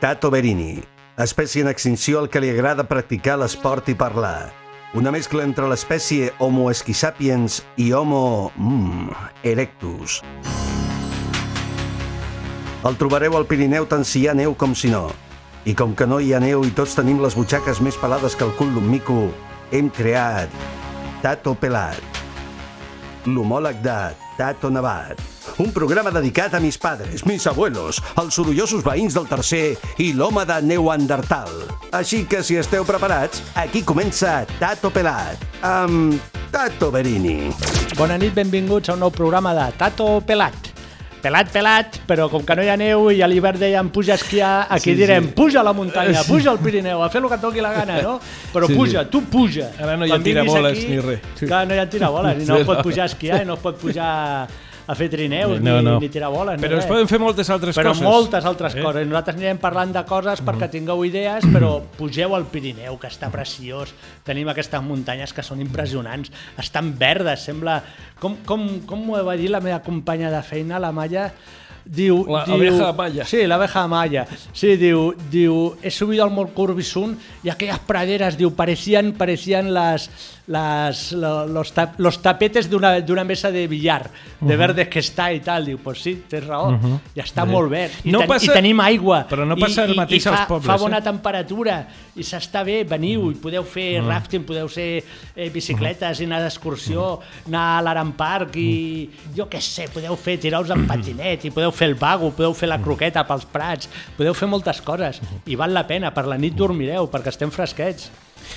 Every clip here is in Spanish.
Tato Berini, espècie en extinció al que li agrada practicar l'esport i parlar. Una mescla entre l'espècie Homo esquisapiens i Homo... Mm, erectus. El trobareu al Pirineu tant si hi ha neu com si no. I com que no hi ha neu i tots tenim les butxaques més pelades que el cul d'un mico, hem creat Tato Pelat, l'homòleg de Tato Nevat. Un programa dedicat a mis padres, mis abuelos, els sorollosos veïns del tercer i l'home de Neuandertal. Així que, si esteu preparats, aquí comença Tato Pelat, amb Tato Berini. Bona nit, benvinguts a un nou programa de Tato Pelat. Pelat, pelat, però com que no hi ha neu i a l'hivern dèiem puja a esquiar, aquí sí, direm sí. puja a la muntanya, puja al Pirineu, a fer el que et doni la gana, no? Però Sí, sí, sí. puja, tu puja. Ara no hi ha Quan vinguis tiraboles ni res. Sí. Clar, no hi ha tiraboles, i no Sí, es pot no. pujar a esquiar, i no es pot pujar a fer trineus, No, ni, no. ni tiraboles, ni Però res. es poden fer moltes altres però coses. moltes altres Eh? Mm-hmm. eh? coses. I Nosaltres anirem parlant de coses perquè tingueu idees, però pugeu al Pirineu, que està preciós. Tenim aquestes muntanyes que són impressionants. Estan verdes, sembla... Com, com, com m'ho va dir la meva companya de feina, la Maya? Diu, La diu, abeja Maya. Sí, l'abeja Maya. Sí, diu, diu, he subido al Mont Corbisun i aquelles praderes, diu, parecien, parecien les, les, lo- los, tap, los tapetes d'una d'una mesa de billar, de verdes que està i tal. Diu, pues sí, tens raó, i està molt verd. I, No ten, passa- I tenim aigua. però no passa el i mateix fa, als pobles, Fa bona eh? Mm. temperatura i s'està bé, veniu, i podeu fer rafting, podeu ser eh, bicicletes i anar d'excursió, Mm. anar a l'Aran Park i jo què sé, podeu fer tiraus Mm. en patinet i podeu fer el vago, podeu fer la croqueta pels prats, podeu fer moltes coses Mm. i val la pena, per la nit dormireu perquè estem fresquets.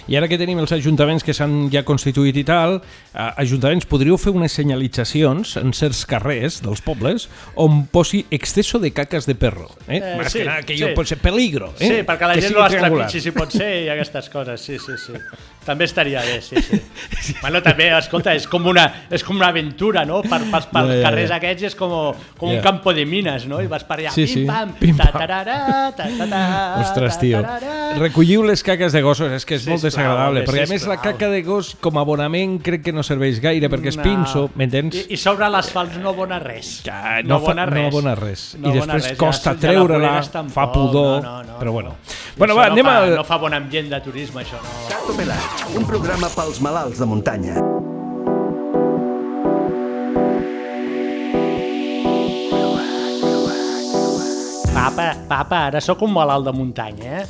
I ara que tenim els ajuntaments que s'han ja constituït i tal, eh, ajuntaments, podríeu fer unes senyalitzacions en certs carrers dels pobles on posi exceso de cacas de perro. Eh? Eh, Más sí, que nada, que jo sí. pot ser peligro. Sí, Eh? perquè la que gent sigui no les triangular. trepitgi si pot ser i aquestes coses, sí, sí, sí. També estaria bé, sí, sí. Bueno, també, escolta, és com una, és com una aventura, no? Per, per, per Ja, ja, ja. carrers aquests és com, com Ja. un campo de mines, no? I vas per allà, Sí, sí. pim-pam, Pim, pam. ta-tararà, ta-ta-ta, Ostres, Ah, tio. ta-tararà. Recolliu les caques de gossos, és que és molt Sisplau, desagradable. home, Perquè, a més, la sisplau. caca de gos com a abonament crec que no serveix gaire, perquè és No. pinso, m'entens? I, I sobre l'asfalt no bona res. Ja, no, fa, no abona res. I abona després res, costa ja, ja treure-la, voleràs tampoc, fa pudor, no, no, no, però no. bueno. I Bueno, això va, no anem fa, al- No fa bon ambient de turisme, això, no. Tato Pelat, un programa pels malalts de muntanya. Papa, papa, ara sóc un malalt de muntanya, eh?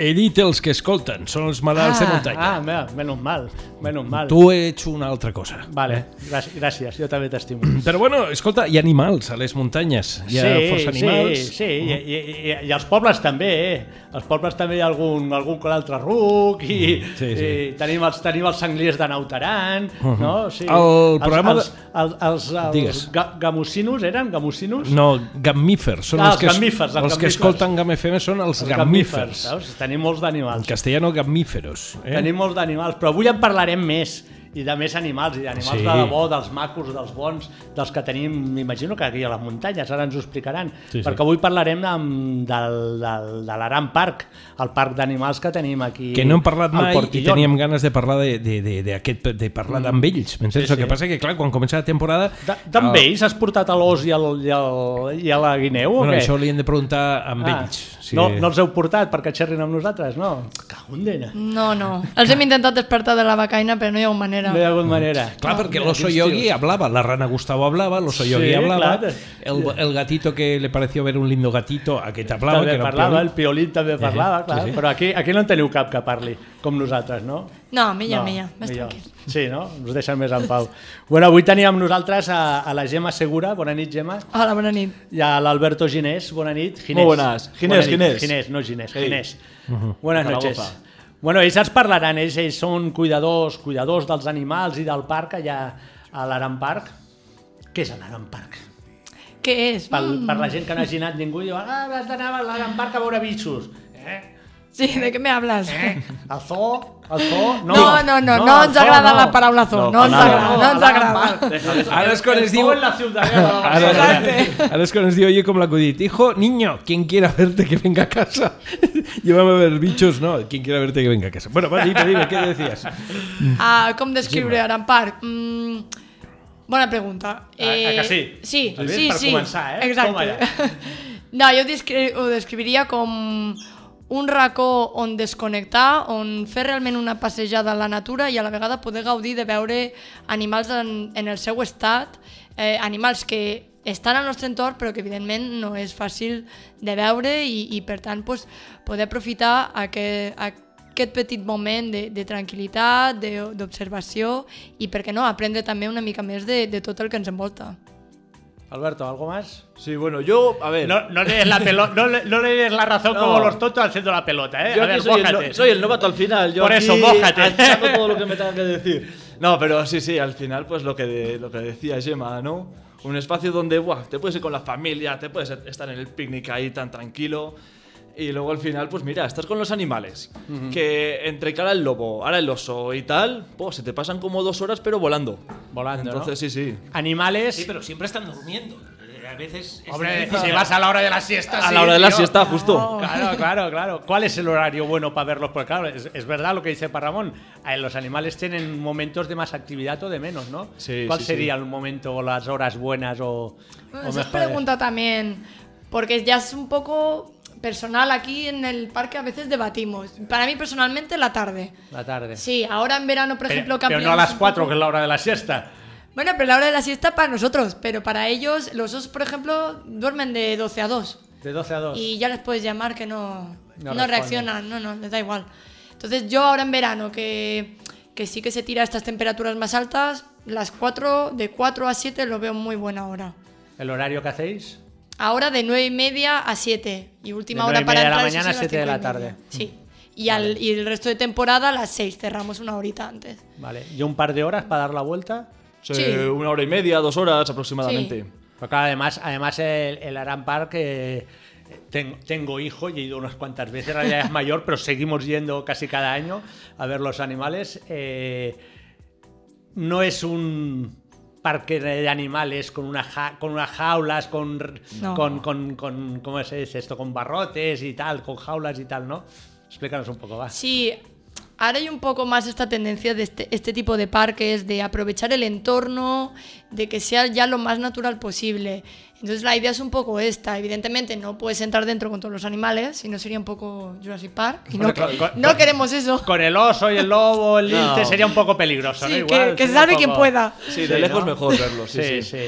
He dit els que escolten, són els malalts de muntanya. Ah, mira, menos mal, menos mal. Tu ets una altra cosa. Vale, gràcies, gràcies jo també t'estimo. Però bueno, escolta, hi ha animals a les muntanyes. Hi ha força animals. Sí, sí, i, i, i, i als pobles també, eh? Als pobles també hi ha algun, algun que l'altre ruc i, sí, sí, sí. sí. Uh-huh. i tenim, els, tenim els sangliers de Nautaran, no? Sí. El programa de- Els, els, els, els, els Digues. ga, gamusinos eren? Gamusinos? No, gamífers. Són Ah, els, els que, es- gamífers, els els que gamífers. escolten Gam FM són els, els gamífers. saps? Tenim molts d'animals. En castellano, gamíferos. Eh? Tenim molts d'animals, però avui en parlarem més i de més animals, i d'animals Sí. sí. de debò, dels macos, dels bons, dels que tenim, m'imagino que aquí a les muntanyes, ara ens ho explicaran, Sí, sí. sí, perquè avui parlarem amb, del, del, de l'Aran Park, el parc d'animals que tenim aquí que no hem parlat al mai i Portillón. teníem ganes de parlar de, de, de, de, aquest, de parlar d'amb ells. Sí, sí. Mm. Sí, El que sí. passa que, clar, quan comença la temporada... D- D'amb el- ells has portat a l'os i, al- i, al- i a la guineu Bueno, o què? això li hem de preguntar amb ah, ells. sí. no, no els heu portat perquè xerrin amb nosaltres, no? Cagundena. No, no. Els hem intentat despertar de la becaina, però no hi ha manera. No hi ha hagut manera. Clar, perquè mira, l'oso quins yogi tios. hablaba, la rana Gustavo hablaba, l'oso Sí, yogi hablaba, clar. el, el gatito que le pareció ver un lindo gatito, aquest hablava, que també era un parlava, el piolín. piolín també parlava, sí, clar, sí. però aquí, aquí no en teniu cap que parli, com nosaltres, no? No, millor, no, millor. Més millor. tranquil. Sí, no? Us deixen més en pau. Bueno, avui teníem nosaltres a, a la Gemma Segura, bona nit, Gemma, Hola, bona nit. i a l'Alberto Ginés, bona nit. Ginés. Molt bones. Ginés, nit. Ginés. Ginés, no Ginés, Ei. Ginés. Uh-huh. Buenas Zaragoza. noches. Bueno, ells ens parlaran, ells, ells són cuidadors, cuidadors dels animals i del parc allà a l'Aran Park. Què és l'Aran Park? Què és? Mm. Per, per la gent que no hagi anat ningú, diu, ah, has d'anar a l'Aran Park a veure bitxos. Eh? Sí, de què me hablas? Eh? El zoo? El zoo? No, no, no, no, el ens agrada zoo, la paraula zoo, no ens agrada, no a ens la agrada. Rampal. Ara és quan El es zoo diu- en la ciutadella. Ara, ara, ara és quan es diu, oye, com l'acudit, hijo, niño, quien quiera verte que venga a casa. Llévame a ver bichos, no, quien quiera verte que venga a casa. Bueno, va, dime, dime, ¿qué decías? Mm. Ah, com descriure Aran Park? Mm, bona pregunta. Ah, ah, que sí? Sí, Doncs bé, sí, per sí. començar, eh? Toma Exacte. ja. No, jo ho descri- ho descriviria com un racó on desconnectar, on fer realment una passejada a la natura i a la vegada poder gaudir de veure animals en, en el seu estat, eh, animals que estan al nostre entorn però que evidentment no és fàcil de veure i, i per tant pues, poder aprofitar aquest, aquest petit moment de, de tranquil·litat, de- d'observació i per què no, aprendre també una mica més de, de tot el que ens envolta. Alberto, ¿algo más? Sí, bueno, yo, a ver. No, no le des la pelota, no, le- no le des la razón No. como los tontos haciendo la pelota, ¿eh? Yo a aquí ver, soy, el, mójate. no- soy el novato al final. Yo Por aquí eso, mójate. achando todo lo que me tengan que decir. No, pero sí, sí, al final, pues lo que, de- lo que decía Gemma, ¿no? Un espacio donde, buah, te puedes ir con la familia, te puedes estar en el picnic ahí tan tranquilo. Y luego al final, pues mira, estás con los animales. Que entre cara el lobo, ahora el oso y tal, pues se te pasan como dos horas, pero volando. Volando, ¿no? Entonces, sí, sí. Animales. Sí, pero siempre están durmiendo. Eh, A veces. es Hombre, difícil. si vas a la hora de la siesta. A Ah, sí, la hora de la tío. siesta, justo. Claro, claro, claro. ¿Cuál es el horario bueno para verlos? Porque claro, es, es verdad lo que dice Parramón. eh, Los animales tienen momentos de más actividad o de menos, ¿no? Sí, ¿Cuál sí, sería sí. el momento o las horas buenas o, o Bueno, esa es mejores? pregunta también, porque ya es un poco personal aquí en el parque a veces debatimos. Para mí personalmente la tarde. La tarde. Sí, ahora en verano, por ejemplo, pero, pero no a cambiamos las un 4, poco. que es la hora de la siesta. Bueno, pero la hora de la siesta para nosotros, pero para ellos, los osos, por ejemplo, duermen de 12 a 2 De 12 a 2. y ya les puedes llamar que no, No no, responden. reaccionan, no, no, les da igual. Entonces yo ahora en verano, que, que sí que se tira a estas temperaturas más altas, las 4, de 4 a 7 lo veo muy buena hora. ¿El horario que hacéis? Ahora de 9 y media a 7. Y última De hora nueve y para media de la entrar eso mañana a sí, las siete de la cinco y media. tarde. Sí. Y, al, y el resto de temporada a las 6. Cerramos una horita antes. Vale. ¿Y un par de horas para dar la vuelta? Sí, Sí. Una hora y media, dos horas aproximadamente. Sí. Pero Pues claro, además, además el, el Aran Park, eh, ten- tengo hijo y he ido unas cuantas veces, ahora ya es mayor, pero seguimos yendo casi cada año a ver los animales. Eh, no es un parque de animales con, una ja- con unas jaulas, con, r- No. con, con- con- ¿cómo se dice esto? Con barrotes y tal, con jaulas y tal, ¿no? Explícanos un poco, va. Sí, ahora hay un poco más esta tendencia de este, este tipo de parques, de aprovechar el entorno, de que sea ya lo más natural posible. Entonces la idea es un poco esta. Evidentemente no puedes entrar dentro con todos los animales, si no sería un poco Jurassic Park. Y no, Bueno, con- con- no queremos eso. Con el oso y el lobo, el lince, sería un poco peligroso, Sí, ¿no? que- Igual, que se sería un salve quien poco- pueda. Sí, de Sí, lejos ¿no? mejor verlo. Sí, sí. sí.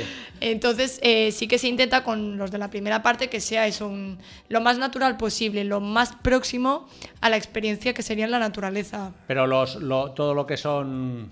Entonces eh, sí que se intenta con los de la primera parte que sea eso, un- lo más natural posible, lo más próximo a la experiencia que sería en la naturaleza. Pero los, lo- todo lo que son...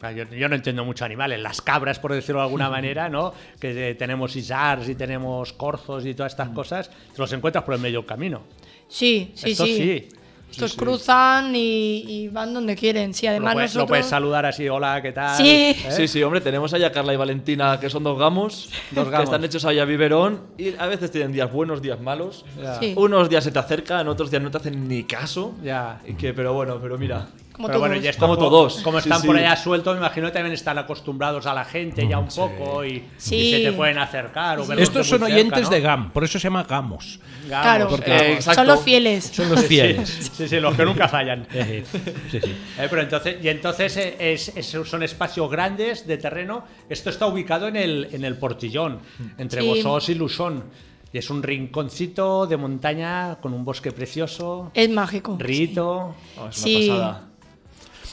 claro, Yo, yo no entiendo mucho animales, las cabras, por decirlo de alguna manera, ¿no? Que eh, tenemos isars y tenemos corzos y todas Mm. estas cosas, te los encuentras por el medio del camino. Sí, sí, Esto sí. sí. Estos cruzan y, y van donde quieren. Sí, Lo además puedes, lo nosotros... puedes saludar así, hola, ¿qué tal? Sí. ¿Eh? Sí, sí, hombre, tenemos ahí a Carla y Valentina, que son dos gamos, Dos que gamos. están hechos ahí a biberón, y a veces tienen días buenos, días malos. Sí. Unos días se te acercan, otros días no te hacen ni caso. Ya. Y que, pero bueno, pero mira. Como Pero bueno, todos. ya están Como po- todos. Como Sí, están sí. por allá sueltos, me imagino que también están acostumbrados a la gente ya un poco y, y Sí. se te pueden acercar. O verlos de Estos muy son cerca, oyentes ¿no? de GAM, por eso se llama GAMOS. Gamos, Claro, porque- Eh, exacto. son los fieles. Son los fieles. Sí, sí, los que nunca fallan. Sí, sí, sí. Eh, pero entonces, y entonces eh, es- es- son espacios grandes de terreno. Esto está ubicado en el, en el Portillón, entre Sí. Bosos y Lusón. Y es un rinconcito de montaña con un bosque precioso, Es mágico. rito. Oh, es una Sí. pasada.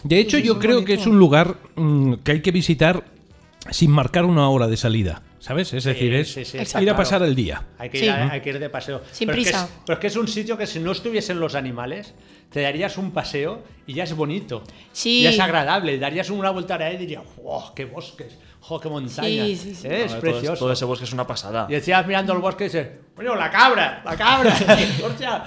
De hecho, yo creo que Pues es un lugar mm, que hay que visitar sin marcar una hora de salida, ¿sabes? Es decir, es sí, sí, ir está a claro. pasar el día. Hay que, Sí. ir, a- hay que ir de paseo. Sin Pero es que prisa. es- pero es que es un sitio que si no estuviesen los animales, te darías un paseo y ya es bonito. Sí. Ya es agradable. Darías una vuelta a la y dirías, ¡wow! ¡Qué bosques! ¡Jo, qué montaña! Sí, sí, sí. Eh, No, Es todo- precioso. Todo, ese bosque es una pasada. Y decías mirando el bosque y dices, bueno, la cabra, la cabra. Hostia,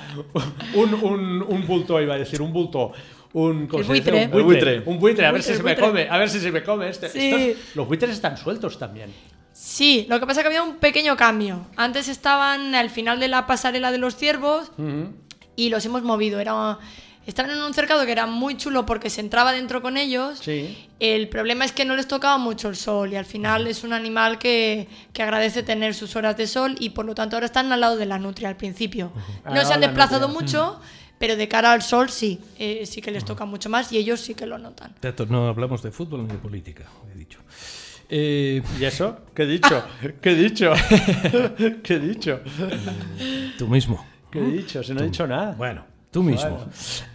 un, un, un bulto, iba a decir, un bulto. Un, ¿cómo El se dice? buitre. Un buitre. El buitre. Un buitre, a ver si El se me buitre. come, a ver si se me come. Este. Sí. Estos- los buitres están sueltos también. Sí, lo que pasa es que había un pequeño cambio. Antes estaban al final de la pasarela de los ciervos y los hemos movido. Era, estaban en un cercado que era muy chulo porque se entraba dentro con ellos. Sí. El problema es que no les tocaba mucho el sol y al final es un animal que, que agradece tener sus horas de sol y por lo tanto ahora están al lado de la nutria al principio. Al No lado se han de la desplazado nutria. mucho, pero de cara al sol sí, eh, sí que les toca mucho más y ellos sí que lo notan. Tato, no hablamos de fútbol ni de política, he dicho. Eh, ¿Y eso? ¿Qué he dicho? ¿Qué he dicho? ¿Qué he dicho? tú mismo. ¿Qué he dicho? Si no he dicho nada. Bueno, tú mismo.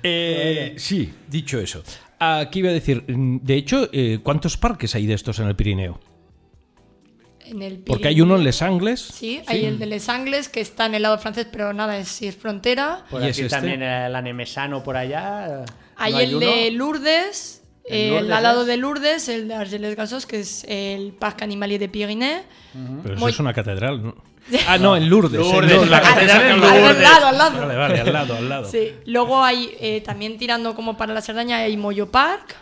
Eh, sí, dicho eso. Aquí iba a decir, mm, de hecho, eh, ¿cuántos parques hay de estos en el Pirineo? En el Porque hay Pirineo. uno en Les Angles. Sí, hay el de Les Angles, que está en el lado francés, pero nada, es, sí es frontera. Por ¿Y aquí es este? también el anemesano por allá. Hay ¿No el uno? de Lourdes, El eh, el Lourdes, al lado ¿eh? de Lourdes, el de Argeles Gasos, que es el Parque Animalier de Pyrénées. Pero eso Muy- es una catedral, ¿no? Ah, no, en Lourdes. en Lourdes, Lourdes. Ah, la catedral en Al- Al Lourdes. lado, al lado. Vale, vale, al lado, al lado. Sí. Luego hay, eh, también tirando como para la Cerdaña, hay Moyo Park,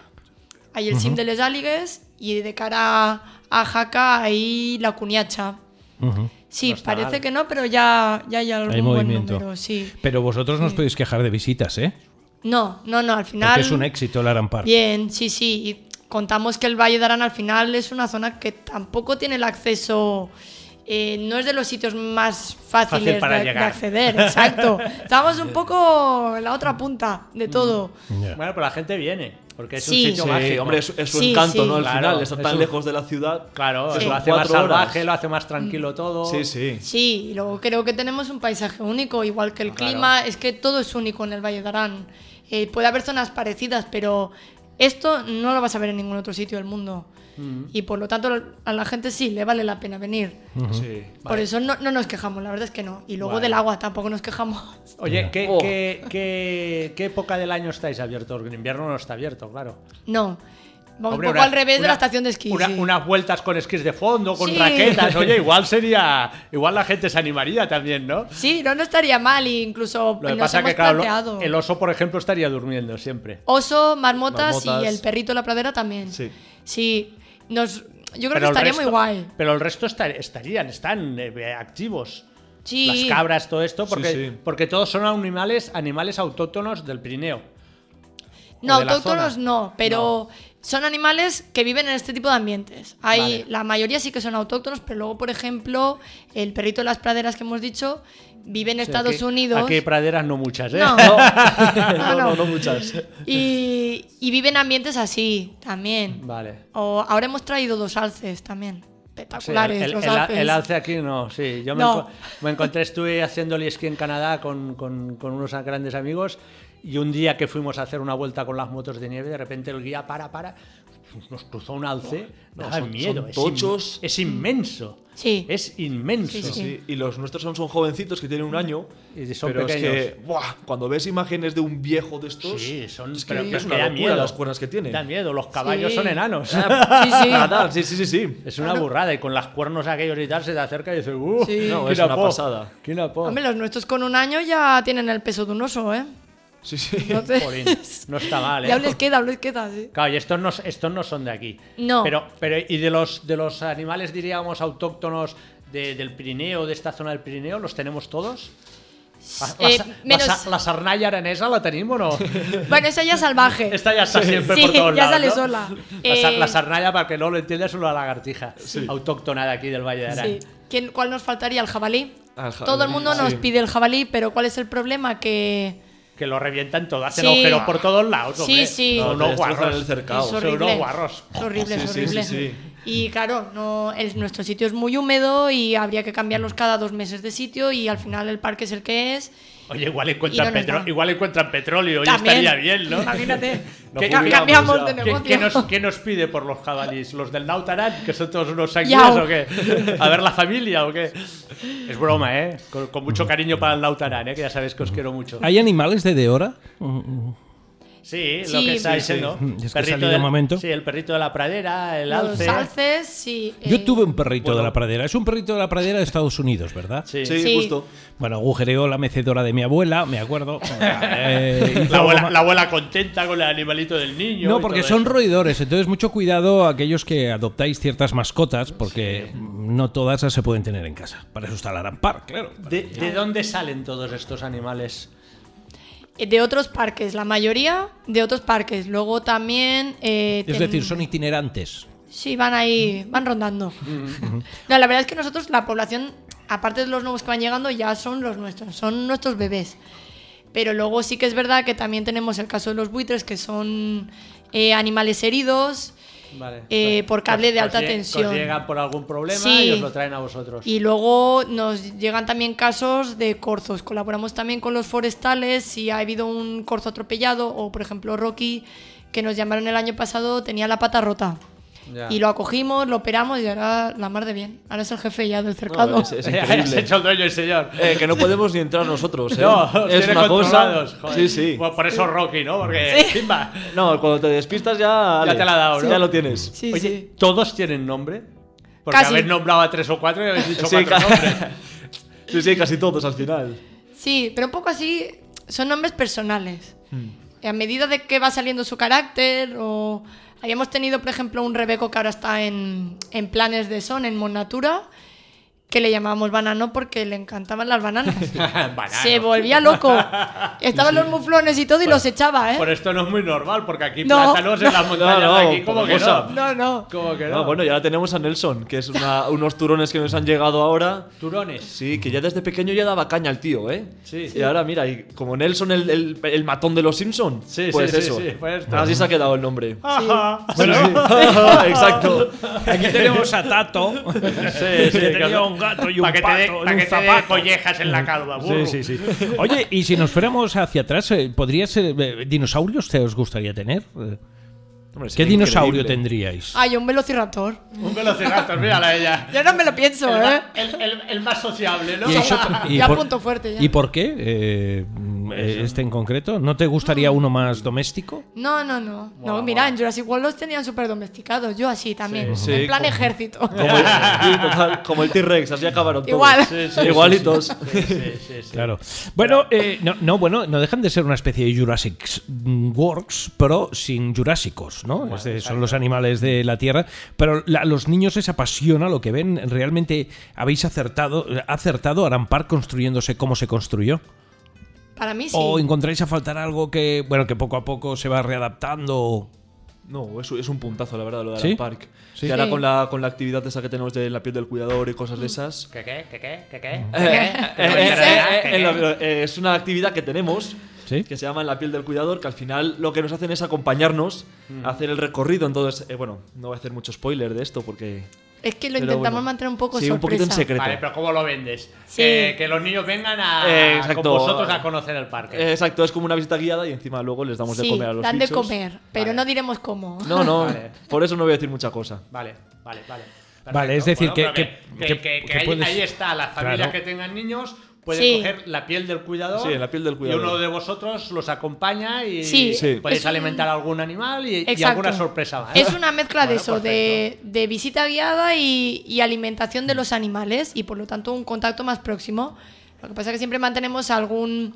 hay el Sim de Les Algues y de cara a Jaca hay La Cuniacha. Ujú. Sí, parece que no, pero ya, ya hay algún buen movimiento. número, sí. Pero vosotros no os podéis quejar de visitas, ¿eh? No, no, no, al final... Porque es un éxito el Arampar. Bien, sí, sí. Y contamos que el Valle de Arán al final es una zona que tampoco tiene el acceso. eh, no es de los sitios más fáciles Fácil para de, de llegar. acceder, exacto. Estamos un poco en la otra punta de todo. Ya. Bueno, pero la gente viene, porque es Sí. un sitio Sí, mágico. hombre, es, es su Sí, encanto, sí. ¿no? Al Claro, final, está es tan un- lejos de la ciudad. Claro, Sí. lo hace Son más cuatro horas. salvaje, lo hace más Mm. tranquilo todo. Sí, sí. Sí, y luego creo que tenemos un paisaje único, igual que el clima, es que todo es único en el Valle de Arán. Eh, puede haber zonas parecidas, pero esto no lo vas a ver en ningún otro sitio del mundo. Mm. Y por lo tanto a la gente sí le vale la pena venir. Mm. sí. Por eso no, no nos quejamos, la verdad es que no. Y luego del agua tampoco nos quejamos. Oye, ¿qué, Oh. qué, qué- qué época del año estáis abiertos? En invierno no está abierto, claro. No. Va un Hombre, poco una- al revés de una- la estación de esquí. una- sí. Unas vueltas con esquís de fondo, con Sí. raquetas. Oye, igual sería. Igual la gente se animaría también, ¿no? Sí, no, no estaría mal, e incluso Lo que nos pasa hemos que, claro, planteado. lo- el oso, por ejemplo, estaría durmiendo siempre. Oso, marmotas, y Marmotas. el perrito de la pradera también. Sí. Sí, Nos, yo creo Pero que el estaría resto- muy guay. Pero el resto esta- estarían, están eh, activos. Sí. Las cabras, todo esto, Sí, porque, sí. porque todos son animales, animales autóctonos del Pirineo. No, o de la autóctonos zona. no, pero son animales que viven en este tipo de ambientes. Hay, Vale. La mayoría sí que son autóctonos, pero luego, por ejemplo, el perrito de las praderas que hemos dicho vive en Estados Aquí- Unidos. Aquí praderas no muchas, ¿eh? No. No, No, no, no. no muchas. Y, y viven ambientes así también. Vale. O ahora hemos traído dos alces también. Sí, Espectaculares el, los el- alces. el alce aquí no, sí. Yo me, No. enco- me encontré, estuve haciendo el esquí en Canadá con, con- con unos grandes amigos y un día que fuimos a hacer una vuelta con las motos de nieve, de repente el guía para, para, nos cruzó un alce. No, daba son- miedo, son es, tochos. in- es inmenso. Sí. Es inmenso. Sí, sí. Sí, y los nuestros son, son jovencitos que tienen un año. Y son pero es que, pequeños. buah, cuando ves imágenes de un viejo de estos, Sí, son es que pero es que una da locura miedo. las cuerdas que Ah. tienen. Da miedo, los caballos Sí. son enanos. Sí, sí. Nadar, sí, sí, sí, sí. Es una burrada y con las cuernos aquellos y tal se te acerca y dices, ¡uh! Sí. No, ¿quién es una apó? pasada. ¿Quién apó? Hombre, los nuestros con un año ya tienen el peso de un oso, ¿eh? Sí, sí. Entonces, Jolín, no está mal, ¿eh? ya les queda, les queda, sí. Claro, y estos no, estos no son de aquí. No. Pero, pero ¿y de los, de los animales, diríamos, autóctonos de- del Pirineo, de esta zona del Pirineo, los tenemos todos? Ah, La, la Eh, sa- la menos- sa- la sarnalla aranesa la tenemos o no? Bueno, esa ya es salvaje. Esta ya está siempre Sí, por todos ya lados, sale ¿no? sola. La, sa- Eh, la sarnalla, para que no lo entiendas, es una lagartija autóctona de aquí del Valle de Arán. Eh, Sí. ¿Quién- ¿Cuál nos faltaría? El jabalí. Al jabalí, Todo el mundo nos sí. pide el jabalí, pero ¿cuál es el problema? Que Que lo revientan todo, hacen Sí. agujeros por todos lados. Sí, hombre. sí. Son No, unos te destrozan guarros. el cercado. es Son horrible. unos guarros. Es horrible, Sí, es sí, horrible. sí, sí. Y claro, no, el- nuestro sitio es muy húmedo y habría que cambiarlos cada dos meses de sitio y al final el parque es el que es. Oye, igual encuentran, Y no nos petro- dan. igual encuentran petróleo y También. estaría bien, ¿no? Imagínate. No Ca- jubilamos cambiamos ya. de ¿Qué- ¿Qué, negocio. qué nos, qué nos pide por los jabalíes? ¿Los del Nautarán? ¿Que son todos unos sanguíneos Yao. o qué? ¿A ver la familia o qué? Es broma, ¿eh? Con, con mucho cariño para el Nautarán, ¿eh? Que ya sabéis que os quiero mucho. ¿Hay animales de Deora? Sí, lo Sí. que está Sí, diciendo. sí. Es que he salido del- un momento. Sí, el perrito de la pradera, el Los alce. alces, sí. eh, Yo tuve un perrito bueno. de la pradera. Es un perrito de la pradera de Estados Unidos, ¿verdad? Sí. Sí, Sí. justo. Bueno, agujereó la mecedora de mi abuela, me acuerdo. Eh, hizo La algo abuela, ma- la abuela contenta con el animalito del niño. No, y porque todo son eso. roedores, entonces mucho cuidado a aquellos que adoptáis ciertas mascotas, porque no todas se pueden tener en casa. Para eso está el Arampar, claro. ¿De, de dónde salen todos estos animales? eh, De otros parques, la mayoría de otros parques. Luego también. eh, Es ten- decir, son itinerantes. Sí, van ahí, van rondando. No, la verdad es que nosotros, la población, aparte de los nuevos que van llegando, ya son los nuestros, son nuestros bebés. Pero luego sí que es verdad que también tenemos el caso de los buitres, que son eh, animales heridos. Vale. eh, por cable de Os alta lle- os tensión. llegan por algún problema Sí. y os lo traen a vosotros. Y luego nos llegan también casos de corzos. Colaboramos también con los forestales si ha habido un corzo atropellado o, por ejemplo, Rocky, que nos llamaron el año pasado, tenía la pata rota. Ya. Y lo acogimos, lo operamos y ahora la mar de bien. Ahora es el jefe ya del cercado. No, es, es Es increíble. hecho el dueño y señor. Eh, que no podemos ni entrar nosotros. ¿eh? No, os es tiene una cosa. controlados, joder. Sí, sí. Bueno, por eso Rocky, ¿no? Porque Simba. No, cuando te despistas ya. Ya te la ha dado, ¿no? Ya lo tienes. Sí, Oye, sí. ¿todos tienen nombre? Porque Casi. habéis nombrado a tres o cuatro y habéis dicho Sí, cuatro ca- nombres. sí, sí, casi todos al final. Sí, pero un poco así son nombres personales. Hmm. A medida de que va saliendo su carácter o... Habíamos tenido, por ejemplo, un Rebeco que ahora está en, en planes de son, en Monatura, que le llamábamos banano porque le encantaban las bananas. Banano. Se volvía loco. Estaban los muflones y todo y los echaba, ¿eh? Por esto no es muy normal, porque aquí No, plátanos en las montañas no, de aquí, ¿cómo como que cosa. no? No, no. ¿Cómo que no? No, bueno, y ahora tenemos a Nelson, que es una- unos turones que nos han llegado ahora. Turones. Sí, que ya desde pequeño ya daba caña al tío, ¿eh? Sí. Y ahora mira, y como Nelson el, el- el matón de los Simpsons, Sí, sí, pues sí, eso. sí, pues esto. Así se ha quedado el nombre. Ajá. Bueno, sí. Exacto. Aquí tenemos a Tato, que sí, tenía claro. un gato y un Para que te dé- pato pa' en un que te dé zapato. collejas en la calva, burro. Uh. Sí, sí, sí. Oye, y si nos fuéramos hacia atrás, eh, ¿podría ser eh, dinosaurios te os gustaría tener? Eh, Hombre, ¿Qué sería dinosaurio increíble. tendríais? Ay, un velociraptor. Un velociraptor, mírala ella. Yo no me lo pienso, El, ¿eh? ma- el- el- el más sociable, ¿no? Y eso- y Ya por- punto fuerte, ya. ¿Y por qué? Eh, mm, eh, este en concreto. ¿No te gustaría uno más doméstico? No, no, no. no, mira, en Jurassic World los tenían súper domesticados. Yo así también. Sí, en sí, plan como- ejército. Como el, sí, total, como el T-Rex, así acabaron todos. Igual. Igualitos. Claro. Bueno, eh, no, no, bueno, no dejan de ser una especie de Jurassic Works, pero sin jurásicos, ¿no? Es de- son los animales de la Tierra, pero la- a los niños les apasiona lo que ven. Realmente habéis acertado, acertado Arampar construyéndose como se construyó. Para mí sí. ¿O encontráis a faltar algo que, bueno, que poco a poco se va readaptando? No, es, es un puntazo, la verdad, lo de ¿Sí? Alan Park. Sí. Mm. Y ahora Sí. con la, con la actividad esa que tenemos de la piel del cuidador y cosas de esas. ¿Qué, qué, qué, qué, qué, qué? Eh, eh, eh, eh, ¿Qué, eh, qué? eh, eh, Es una actividad que tenemos ¿Sí? que se llama En la piel del cuidador, que al final lo que nos hacen es acompañarnos Mm. a hacer el recorrido. Entonces, eh, bueno, no voy a hacer mucho spoiler de esto porque. Es que lo pero intentamos bueno, mantener un poco sí, sorpresa. un poquito en secreto. Vale, pero ¿cómo lo vendes? Eh, Sí. Que, que los niños vengan a, Eh, exacto. con vosotros a conocer el parque. Eh, exacto, es como una visita guiada y encima luego les damos de sí, comer a los dan de bichos. comer, pero no diremos cómo. No, no, Vale. por eso no voy a decir mucha cosa. Vale, vale, vale. Perfecto. Vale, es decir, Bueno, que- pero que- que- que- que- que que ahí, puedes- ahí está, las familias Claro. que tengan niños pueden Sí. coger la piel del cuidador. Sí, la piel del cuidador. Y uno de vosotros los acompaña y Sí, Sí. podéis es un- alimentar a algún animal y, y Exacto. alguna sorpresa más. Es una mezcla de Bueno, eso, de, de visita guiada y, y alimentación Mm. de los animales y por lo tanto un contacto más próximo. Lo que pasa es que siempre mantenemos algún,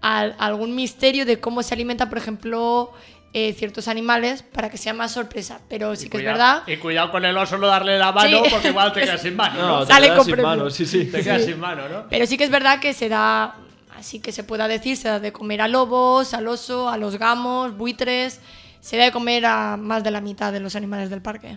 al- algún misterio de cómo se alimentan, por ejemplo, eh, ciertos animales para que sea más sorpresa. Pero sí que Cuidado- es verdad. Y cuidado con el oso no darle la mano Sí. porque igual te quedas sin mano. ¿no? No, te Sale quedas con sin premio. manos, sí, sí. Te quedas sin mano, ¿no? Pero sí que es verdad que se da, así que se pueda decir, se da de comer a lobos, al oso, a los gamos, buitres, se da de comer a más de la mitad de los animales del parque.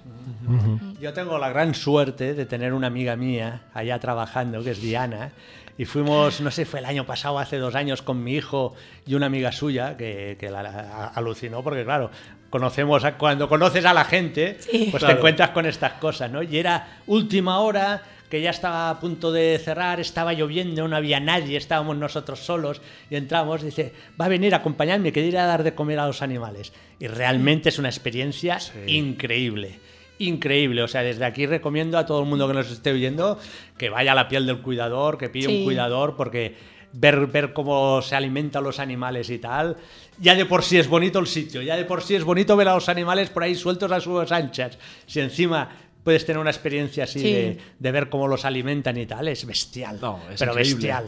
Yo tengo la gran suerte de tener una amiga mía allá trabajando, que es Diana, y fuimos, no sé, fue el año pasado, hace dos años, con mi hijo y una amiga suya, que, que la, la- alucinó, porque claro, conocemos a- cuando conoces a la gente, Sí. pues Claro. te encuentras con estas cosas, ¿no? Y era última hora, que ya estaba a punto de cerrar, estaba lloviendo, no había nadie, estábamos nosotros solos, y entramos, dice, va a venir a acompañarme, que iré a dar de comer a los animales. Y realmente es una experiencia increíble increíble. O sea, desde aquí recomiendo a todo el mundo que nos esté oyendo que vaya a la piel del cuidador, que pille Sí. un cuidador, porque ver, ver cómo se alimentan los animales y tal, ya de por sí es bonito el sitio, ya de por sí es bonito ver a los animales por ahí sueltos a sus anchas. Si encima puedes tener una experiencia así Sí. de, de ver cómo los alimentan y tal, es bestial. No, es pero increíble. bestial,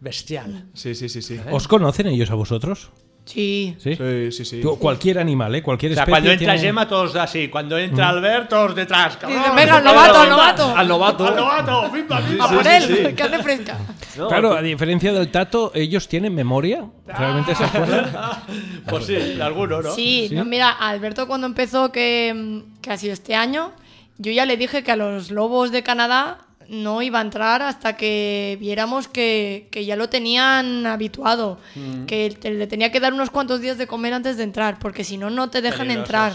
bestial. Sí, sí, sí, ¿Eh? sí. ¿Os conocen ellos a vosotros? Sí. Sí. Sí, sí, sí. Tú, Cualquier animal, ¿eh? Cualquier O sea, especie cuando entra tiene- Gemma, todos así. Cuando entra Albert, todos detrás. cabrón. Dice, venga, al novato, al novato. Al novato. ¡Al novato! ¡Pimba, pimba! A sí, por sí, él, sí. que hace fresca. No, Claro, a diferencia del tato, ellos tienen memoria. Realmente Ah. se acuerdan. Pues sí, alguno, ¿no? Sí, no, mira, a Alberto cuando empezó, que, mm, que ha sido este año, yo ya le dije que a los lobos de Canadá no iba a entrar hasta que viéramos que, que ya lo tenían habituado, que te- le tenía que dar unos cuantos días de comer antes de entrar, porque si no, no te dejan entrar.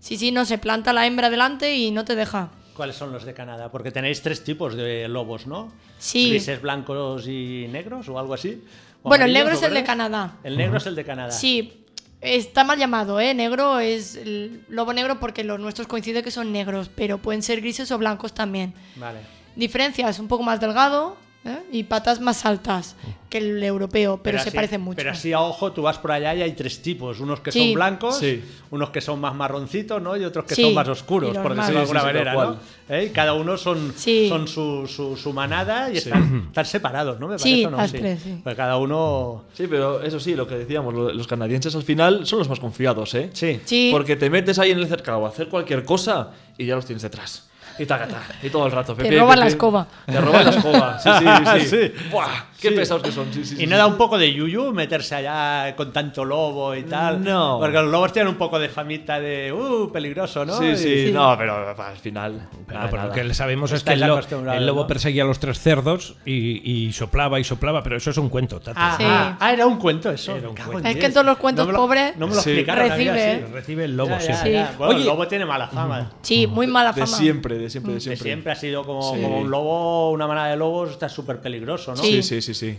Sí, sí, no, se planta la hembra delante y no te deja. ¿Cuáles son los de Canadá? Porque tenéis tres tipos de lobos, ¿no? Sí. Grises, blancos y negros o algo así. ¿O Bueno, el amarillos o negro es el de verdes? Canadá. El negro es el de Canadá. Sí, está mal llamado, ¿eh? Negro es el lobo negro porque los nuestros coincide que son negros, pero pueden ser grises o blancos también. Vale. Diferencia, es un poco más delgado ¿eh? y patas más altas que el europeo, pero, se así- parecen mucho. Pero así a ojo, tú vas por allá y hay tres tipos. Unos que Sí. son blancos, Sí. unos que son más marroncitos, ¿no? Y otros que Sí, son más y oscuros, los por decirlo más- de Sí, sí, alguna sí, tal manera, ¿no? cual. ¿Eh? Y cada uno son, Sí. son su, su, su manada y están, están separados, ¿no? Me Sí, parece, ¿o ¿no? las tres, sí. Pues cada uno... Sí, pero eso sí, lo que decíamos, lo- los canadienses al final son los más confiados, ¿eh? Sí. Sí. Porque te metes ahí en el cercado a hacer cualquier cosa y ya los tienes detrás. Y tacata, y todo el rato. Pepe, roban pepe. la escoba. Te roban la escoba, sí, sí, sí. Sí. Buah, qué Sí. pesados que son, sí, sí. ¿Y sí, no sí. da un poco de yuyu meterse allá con tanto lobo y tal? No. Porque los lobos tienen un poco de famita de, uh, peligroso, ¿no? Sí, Y- sí, no, pero pa, al final. Pero, nada, pero lo nada. que sabemos es que Estáis el, lo- acostumbrados, el lobo ¿no? perseguía a los tres cerdos y, y soplaba y soplaba, pero eso es un cuento, Tato. Ah, Sí. ah, ah, era un cuento eso. Era un Me cago cuento. en Es que diez. en todos los cuentos no me lo- pobres No me lo Sí. explicaron. a mí recibe, así. ¿eh? Recibe el lobo, Ya, ya, siempre. ya. Sí. Bueno, el Oye. lobo tiene mala fama. Sí, muy mala De fama. siempre, de siempre, de De siempre. siempre ha sido como, Sí. como un lobo, una manada de lobos, está súper peligroso, ¿no? Sí, Sí. sí, sí, sí.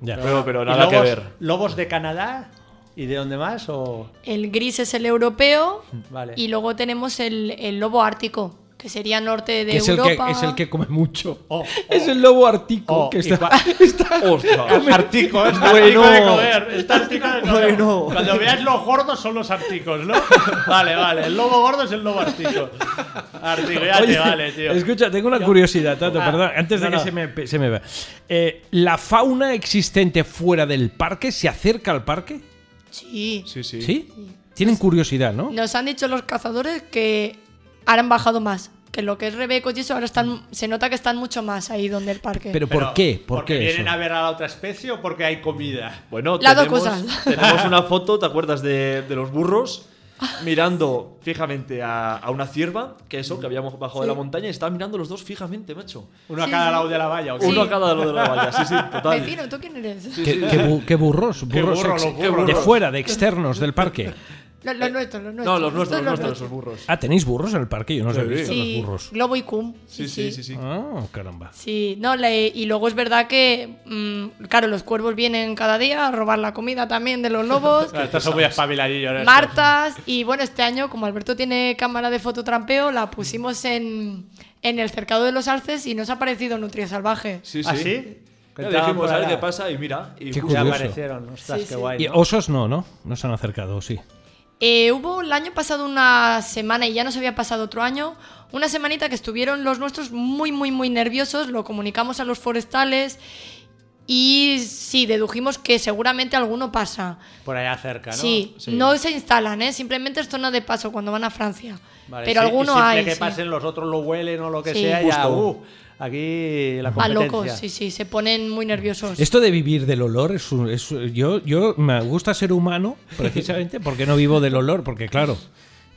Ya. Pero, pero ¿Y nada que lobos- ver. ¿Lobos de Canadá? ¿Y de dónde más? O... El gris es el europeo Vale. y luego tenemos el, el lobo ártico, que sería norte de Que es, el Europa. que, es el que come mucho. Oh, oh. Es el lobo ártico Oh, que y está, cua- está Ostras. Artico, es Bueno. ártico ¿eh? de comer. Es ártico de comer. Bueno. Cuando veas los gordos son los articos, ¿no? Vale, vale. El lobo gordo es el lobo artico. Artico, ya Oye, te vale, tío. Escucha, tengo una curiosidad, Tato, Ah, perdón, antes de no, que no. se me, pe- se me vea. Eh, ¿La fauna existente fuera del parque se acerca al parque? Sí. Sí, sí. ¿Sí? Tienen curiosidad, ¿no? Nos han dicho los cazadores que ahora han bajado más. Que lo que es rebecos y eso ahora están, se nota que están mucho más ahí donde el parque. ¿Pero Pero, por qué? ¿Por ¿Porque qué vienen eso? a ver a la otra especie o porque hay comida? Bueno, Las dos tenemos, cosas. tenemos una foto, ¿te acuerdas de, de los burros? Mirando fijamente a, a una cierva, que eso, que habíamos bajado de la montaña, y estaban mirando los dos fijamente, macho. Uno Sí, a cada sí. lado de la valla. ¿o qué? Uno a cada lado de la valla, sí, sí, total. Vecino, ¿tú quién eres? ¿Qué, qué bu- qué burros? burros, Qué burro, ex- los burros. De fuera, de externos del parque. Los, los nuestros, los nuestros. Eh, No, los nuestros, los nuestros, los nuestros. burros. Ah, ¿tenéis burros en el parque? Yo no os he Sí. visto Sí, los burros. Globo y Cum. Sí, sí, sí, sí. Ah, caramba. Sí, no, la- y luego es verdad que, mm, claro, los cuervos vienen cada día a robar la comida también de los lobos. Claro, estos son muy espabiladillos. estos. Martas, y bueno, este año, como Alberto tiene cámara de fototrampeo, la Mm. pusimos en, en el cercado de los arces y nos ha parecido Nutria Salvaje. Sí, sí. ¿Ah, sí? Ya Estaban dijimos, por a ver allá. qué pasa, y mira. Y Qué justo- Ya Curioso. aparecieron. Ostras, Sí, qué sí. guay. Y ¿no? osos no, ¿no? No se han acercado, sí. Eh, hubo el año pasado una semana, y ya nos había pasado otro año, una semanita que estuvieron los nuestros muy, muy, muy nerviosos, lo comunicamos a los forestales y sí, dedujimos que seguramente alguno pasa. Por allá cerca, ¿no? Sí, Sí. no se instalan, ¿eh? simplemente es zona de paso cuando van a Francia. Vale, Pero sí, y alguno siempre hay. que sí. pasen los otros lo huelen o lo que Sí. sea, ya, Justo. uh, aquí la Van competencia. locos, sí, sí, se ponen muy nerviosos. Esto de vivir del olor es, un- es- yo yo me gusta ser humano precisamente porque no vivo del olor porque claro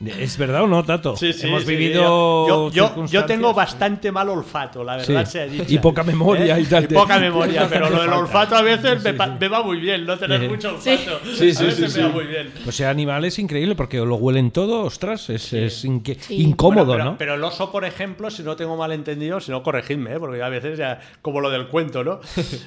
es verdad o no Tato Sí, sí, hemos sí, vivido yo, yo- yo- yo circunstancias- tengo bastante mal olfato, la verdad Sí. sea dicha. Y poca memoria y tal. ¿Eh? poca memoria, No pero hace lo del falta. olfato a veces me, pa- me va muy bien, no tener Sí. mucho olfato. Sí, sí, a veces sí, me sí. va muy bien. o sea animal es increíble porque lo huelen todo ostras es, es inque- Sí. incómodo Bueno, pero, no pero el oso, por ejemplo, si no tengo mal entendido, si no, corregidme, ¿eh? porque yo a veces ya, como lo del cuento, ¿no?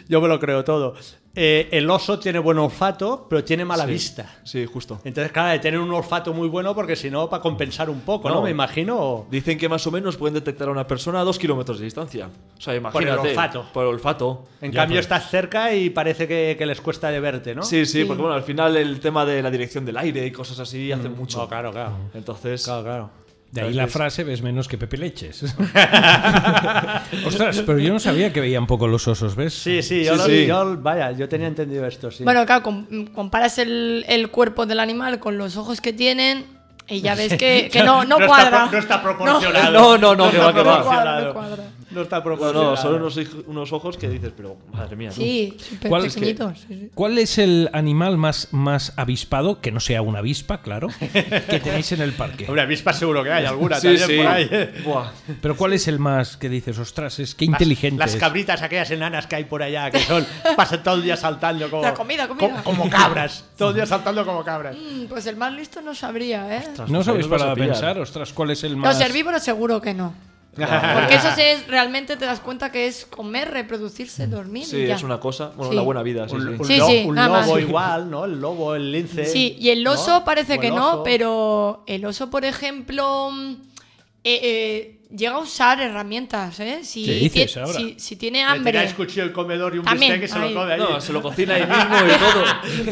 Yo me lo creo todo. Eh, el oso tiene buen olfato, pero tiene mala Sí. vista. Sí, justo. Entonces, claro, de tener un olfato muy bueno, porque si no, para compensar un poco, ¿no? No. Me imagino. o- Dicen que más o menos pueden detectar a una persona a dos kilómetros de distancia. O sea, imagínate. olfato. Por olfato. En Ya, cambio, pero- estás cerca y parece que, que les cuesta de verte, ¿no? Sí, sí, Sí. porque bueno, al final el tema de la dirección del aire y cosas así hace mucho. No, claro, claro. Entonces, Claro, Ah, claro. de ahí la frase ves menos que Pepe Leches ostras pero yo no sabía que veían poco los osos ves Sí, sí, yo, Sí, lo- sí. yo- vaya, yo tenía entendido esto, sí. Bueno, claro, com- comparas el, el cuerpo del animal con los ojos que tienen y ya ves que, que no, no, está cuadra. pro- no está proporcionado. No, no, no, que está va, que va. No cuadra, no proporcionado. cuadra. No está no, proporcionado. no, son unos, hij- unos ojos que dices, pero madre mía. tú. Sí, súper ¿Cuál es pequeñitos. sí, sí. ¿Cuál es el animal más, más avispado, que no sea una avispa, claro, que tenéis en el parque? Hombre, avispas seguro que hay alguna Sí, también sí. por ahí. Buah. Pero ¿cuál es el más que dices, ostras, es que inteligente? Las es"? cabritas, aquellas enanas que hay por allá, que son, pasan todo el día saltando como. La comida, comida. co- Como, cabras. Todo el día saltando como cabras. Mm, Pues el más listo no sabría, ¿eh? ostras. No pues ahí sabéis nos vas para a pillar. pensar, ostras, ¿cuál es el más...? Los herbívoros seguro que no. Porque eso sí es, realmente te das cuenta que es comer, reproducirse, dormir. Sí, y ya. es una cosa. Bueno, Sí. una buena vida, sí, sí. Un, Sí, lo- sí, un nada más. lobo igual, ¿no? El lobo, el lince. Sí, y el oso ¿no? parece O que el no, oso. pero el oso, por ejemplo, mm, eh, eh, llega a usar herramientas, ¿eh? Si, ¿Qué dices ti- ahora? si, si tiene Le hambre. tiráis cuchillo el comedor y un También, bistec y se ahí. lo come allí. No, se lo cocina ahí mismo y todo.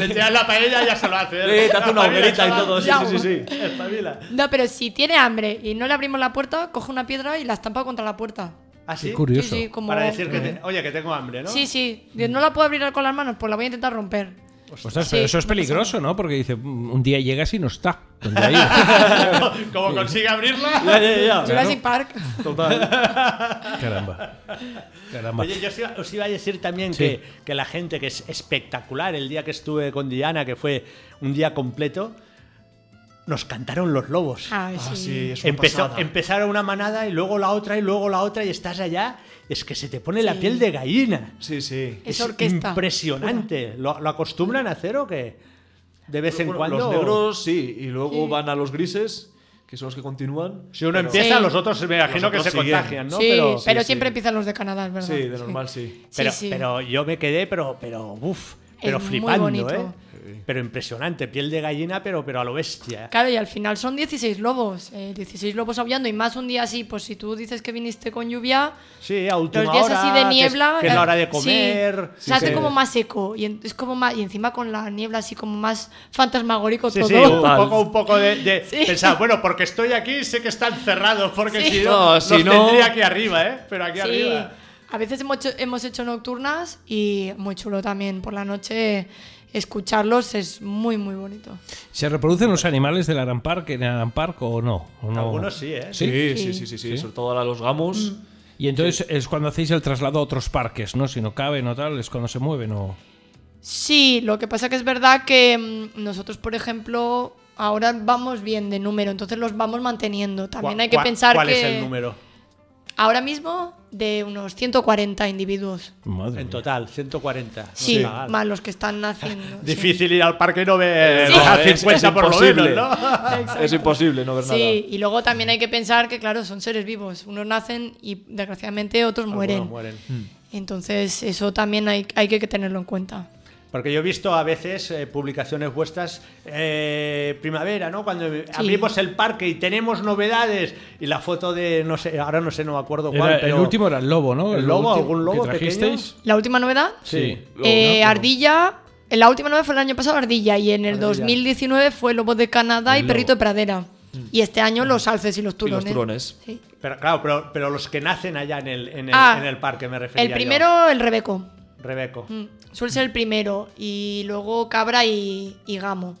Le tiras la paella y ya se lo hace. Sí, te hace una Espabila, hoguerita y chaval. todo. Sí, Ya, sí, sí. sí. Espabila. No, pero si tiene hambre y no le abrimos la puerta, coge una piedra y la estampa contra la puerta. ¿Así? Sí, Curioso. sí, como... Para decir que, te- oye, que tengo hambre, ¿no? Sí, sí. Dice, No la puedo abrir con las manos, pues la voy a intentar romper. Ostras, Sí, pero eso es no pasa peligroso, ¿no? Porque dice, "Mm, un día llegas y no está. ¿Dónde ha ido?". Como consigue abrirla. Ya, ya, ya. Jurassic Park. Total. Caramba. Caramba. Oye, yo os iba, os iba a decir también Sí. que, que la gente que es espectacular, el día que estuve con Diana, que fue un día completo, nos cantaron los lobos. Ah, sí. Ah, sí, es una Empezó, pasada. empezaron una manada y luego la otra y luego la otra y estás allá, es que se te pone la Sí. piel de gallina. Sí, sí. Es orquesta. Impresionante. ¿Lo, lo acostumbran a hacer o qué? De vez en Bueno, cuando. Los negros, sí. Y luego van a los grises, que son los que continúan. Si uno Pero- empieza, Sí. los otros me imagino Los que otros se siguen. contagian, ¿no? Sí, pero, pero, sí. siempre empiezan los de Canadá, es ¿verdad? Sí, de normal sí. pero, sí. pero yo me quedé, pero, pero, uff, pero muy flipando, bonito. ¿eh? Pero impresionante, piel de gallina, pero, pero a lo bestia. Claro, y al final son 16 lobos, eh, 16 lobos aullando y más un día así, pues si tú dices que viniste con lluvia, Sí, a última los días hora, así de que es- niebla... Que es, la hora de eh, comer. sí, sí se hace que- como más seco y, en- es como más, y encima con la niebla así como más fantasmagórico Sí, todo. sí, uh, un Total. poco, un poco de, de Sí. pensar, bueno, porque estoy aquí sé que están cerrados, porque Sí. si no, No, los si no- tendría aquí arriba, ¿eh? Pero aquí Sí. arriba. A veces hemos hecho, hemos hecho nocturnas y muy chulo también por la noche escucharlos es muy muy bonito. ¿Se reproducen los animales del Arampar en Arampar o no? ¿O no? Algunos sí, ¿eh? Sí, sí, sí, sí, sí, Sí. Sobre todo a los gamos. Y entonces es cuando hacéis el traslado a otros parques, ¿no? Si no caben o tal, es cuando se mueven o... Sí, lo que pasa que es verdad que mm, nosotros, por ejemplo, ahora vamos bien de número, entonces los vamos manteniendo. También ¿Cuá- hay que cuá- pensar ¿Cuál que es el número? ahora mismo de unos 140 individuos. Madre En mía. total, 140. No Sí, está mal. más los que están naciendo. sí. Difícil ir al parque y no ver Sí. a Eh, No, es- 50 es por lo imposible. menos, ¿no? Es imposible no ver nada. Sí, y luego también hay que pensar que, claro, son seres vivos. Unos nacen y, desgraciadamente, otros mueren. Algunos mueren. Entonces, eso también hay, hay que tenerlo en cuenta. Porque yo he visto a veces eh, publicaciones vuestras eh, primavera, ¿no? Cuando abrimos el parque y tenemos novedades y la foto de no sé, ahora no sé, no me acuerdo cuál, Era- pero el último era el lobo, ¿no? ¿El lobo? último ¿Algún lobo que trajisteis? La última novedad, Sí. eh, Ardilla. en La última novedad fue el año pasado Ardilla y en el Ardilla. 2019 fue Lobo de Canadá y El Perrito lobo. de Pradera. Mm. Y este año los alces y los Y turones. los turones. Sí. pero claro, pero, pero los que nacen allá en el en el, Ah, en el parque me refería El primero, el Rebeco. yo. Rebeco. Mm, Suele ser el primero. Y luego Cabra y, y Gamo.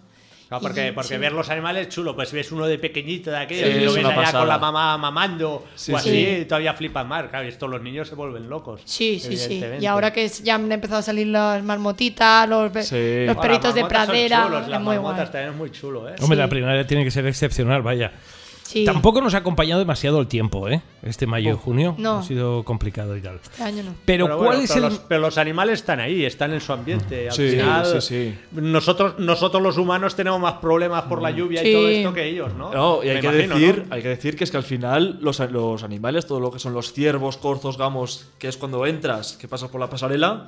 Claro, Ah, porque, Y- porque sí. ver los animales es chulo, pues ves uno de pequeñito de aquello Sí, y lo es ves una allá pasada. con la mamá mamando Sí, o sí. así, Sí. todavía flipan más, claro, y esto los niños se vuelven locos. Sí, sí, sí. evidentemente. Y ahora que es- ya han empezado a salir las marmotitas, los, pe- Sí. los Ahora, perritos de marmotas son pradera. chulos, es las muy marmotas guay. también es muy chulo, ¿eh? Hombre, Sí. la primera tiene que ser excepcional, vaya. Sí. Tampoco nos ha acompañado demasiado el tiempo, ¿eh? Este mayo y junio Oh, no. ha sido complicado y tal. Este año no. Pero, Pero ¿cuál bueno, es pero el...? los, pero los animales están ahí, están en su ambiente. Al Sí, final, sí, sí. Mm. Nosotros, nosotros los humanos tenemos más problemas por la lluvia y Sí. todo esto que ellos, ¿no? No, y hay Me que, imagino, decir, ¿no? hay que decir que es que al final los, a- los animales, todo lo que son los ciervos, corzos, gamos, que es cuando entras, que pasas por la pasarela,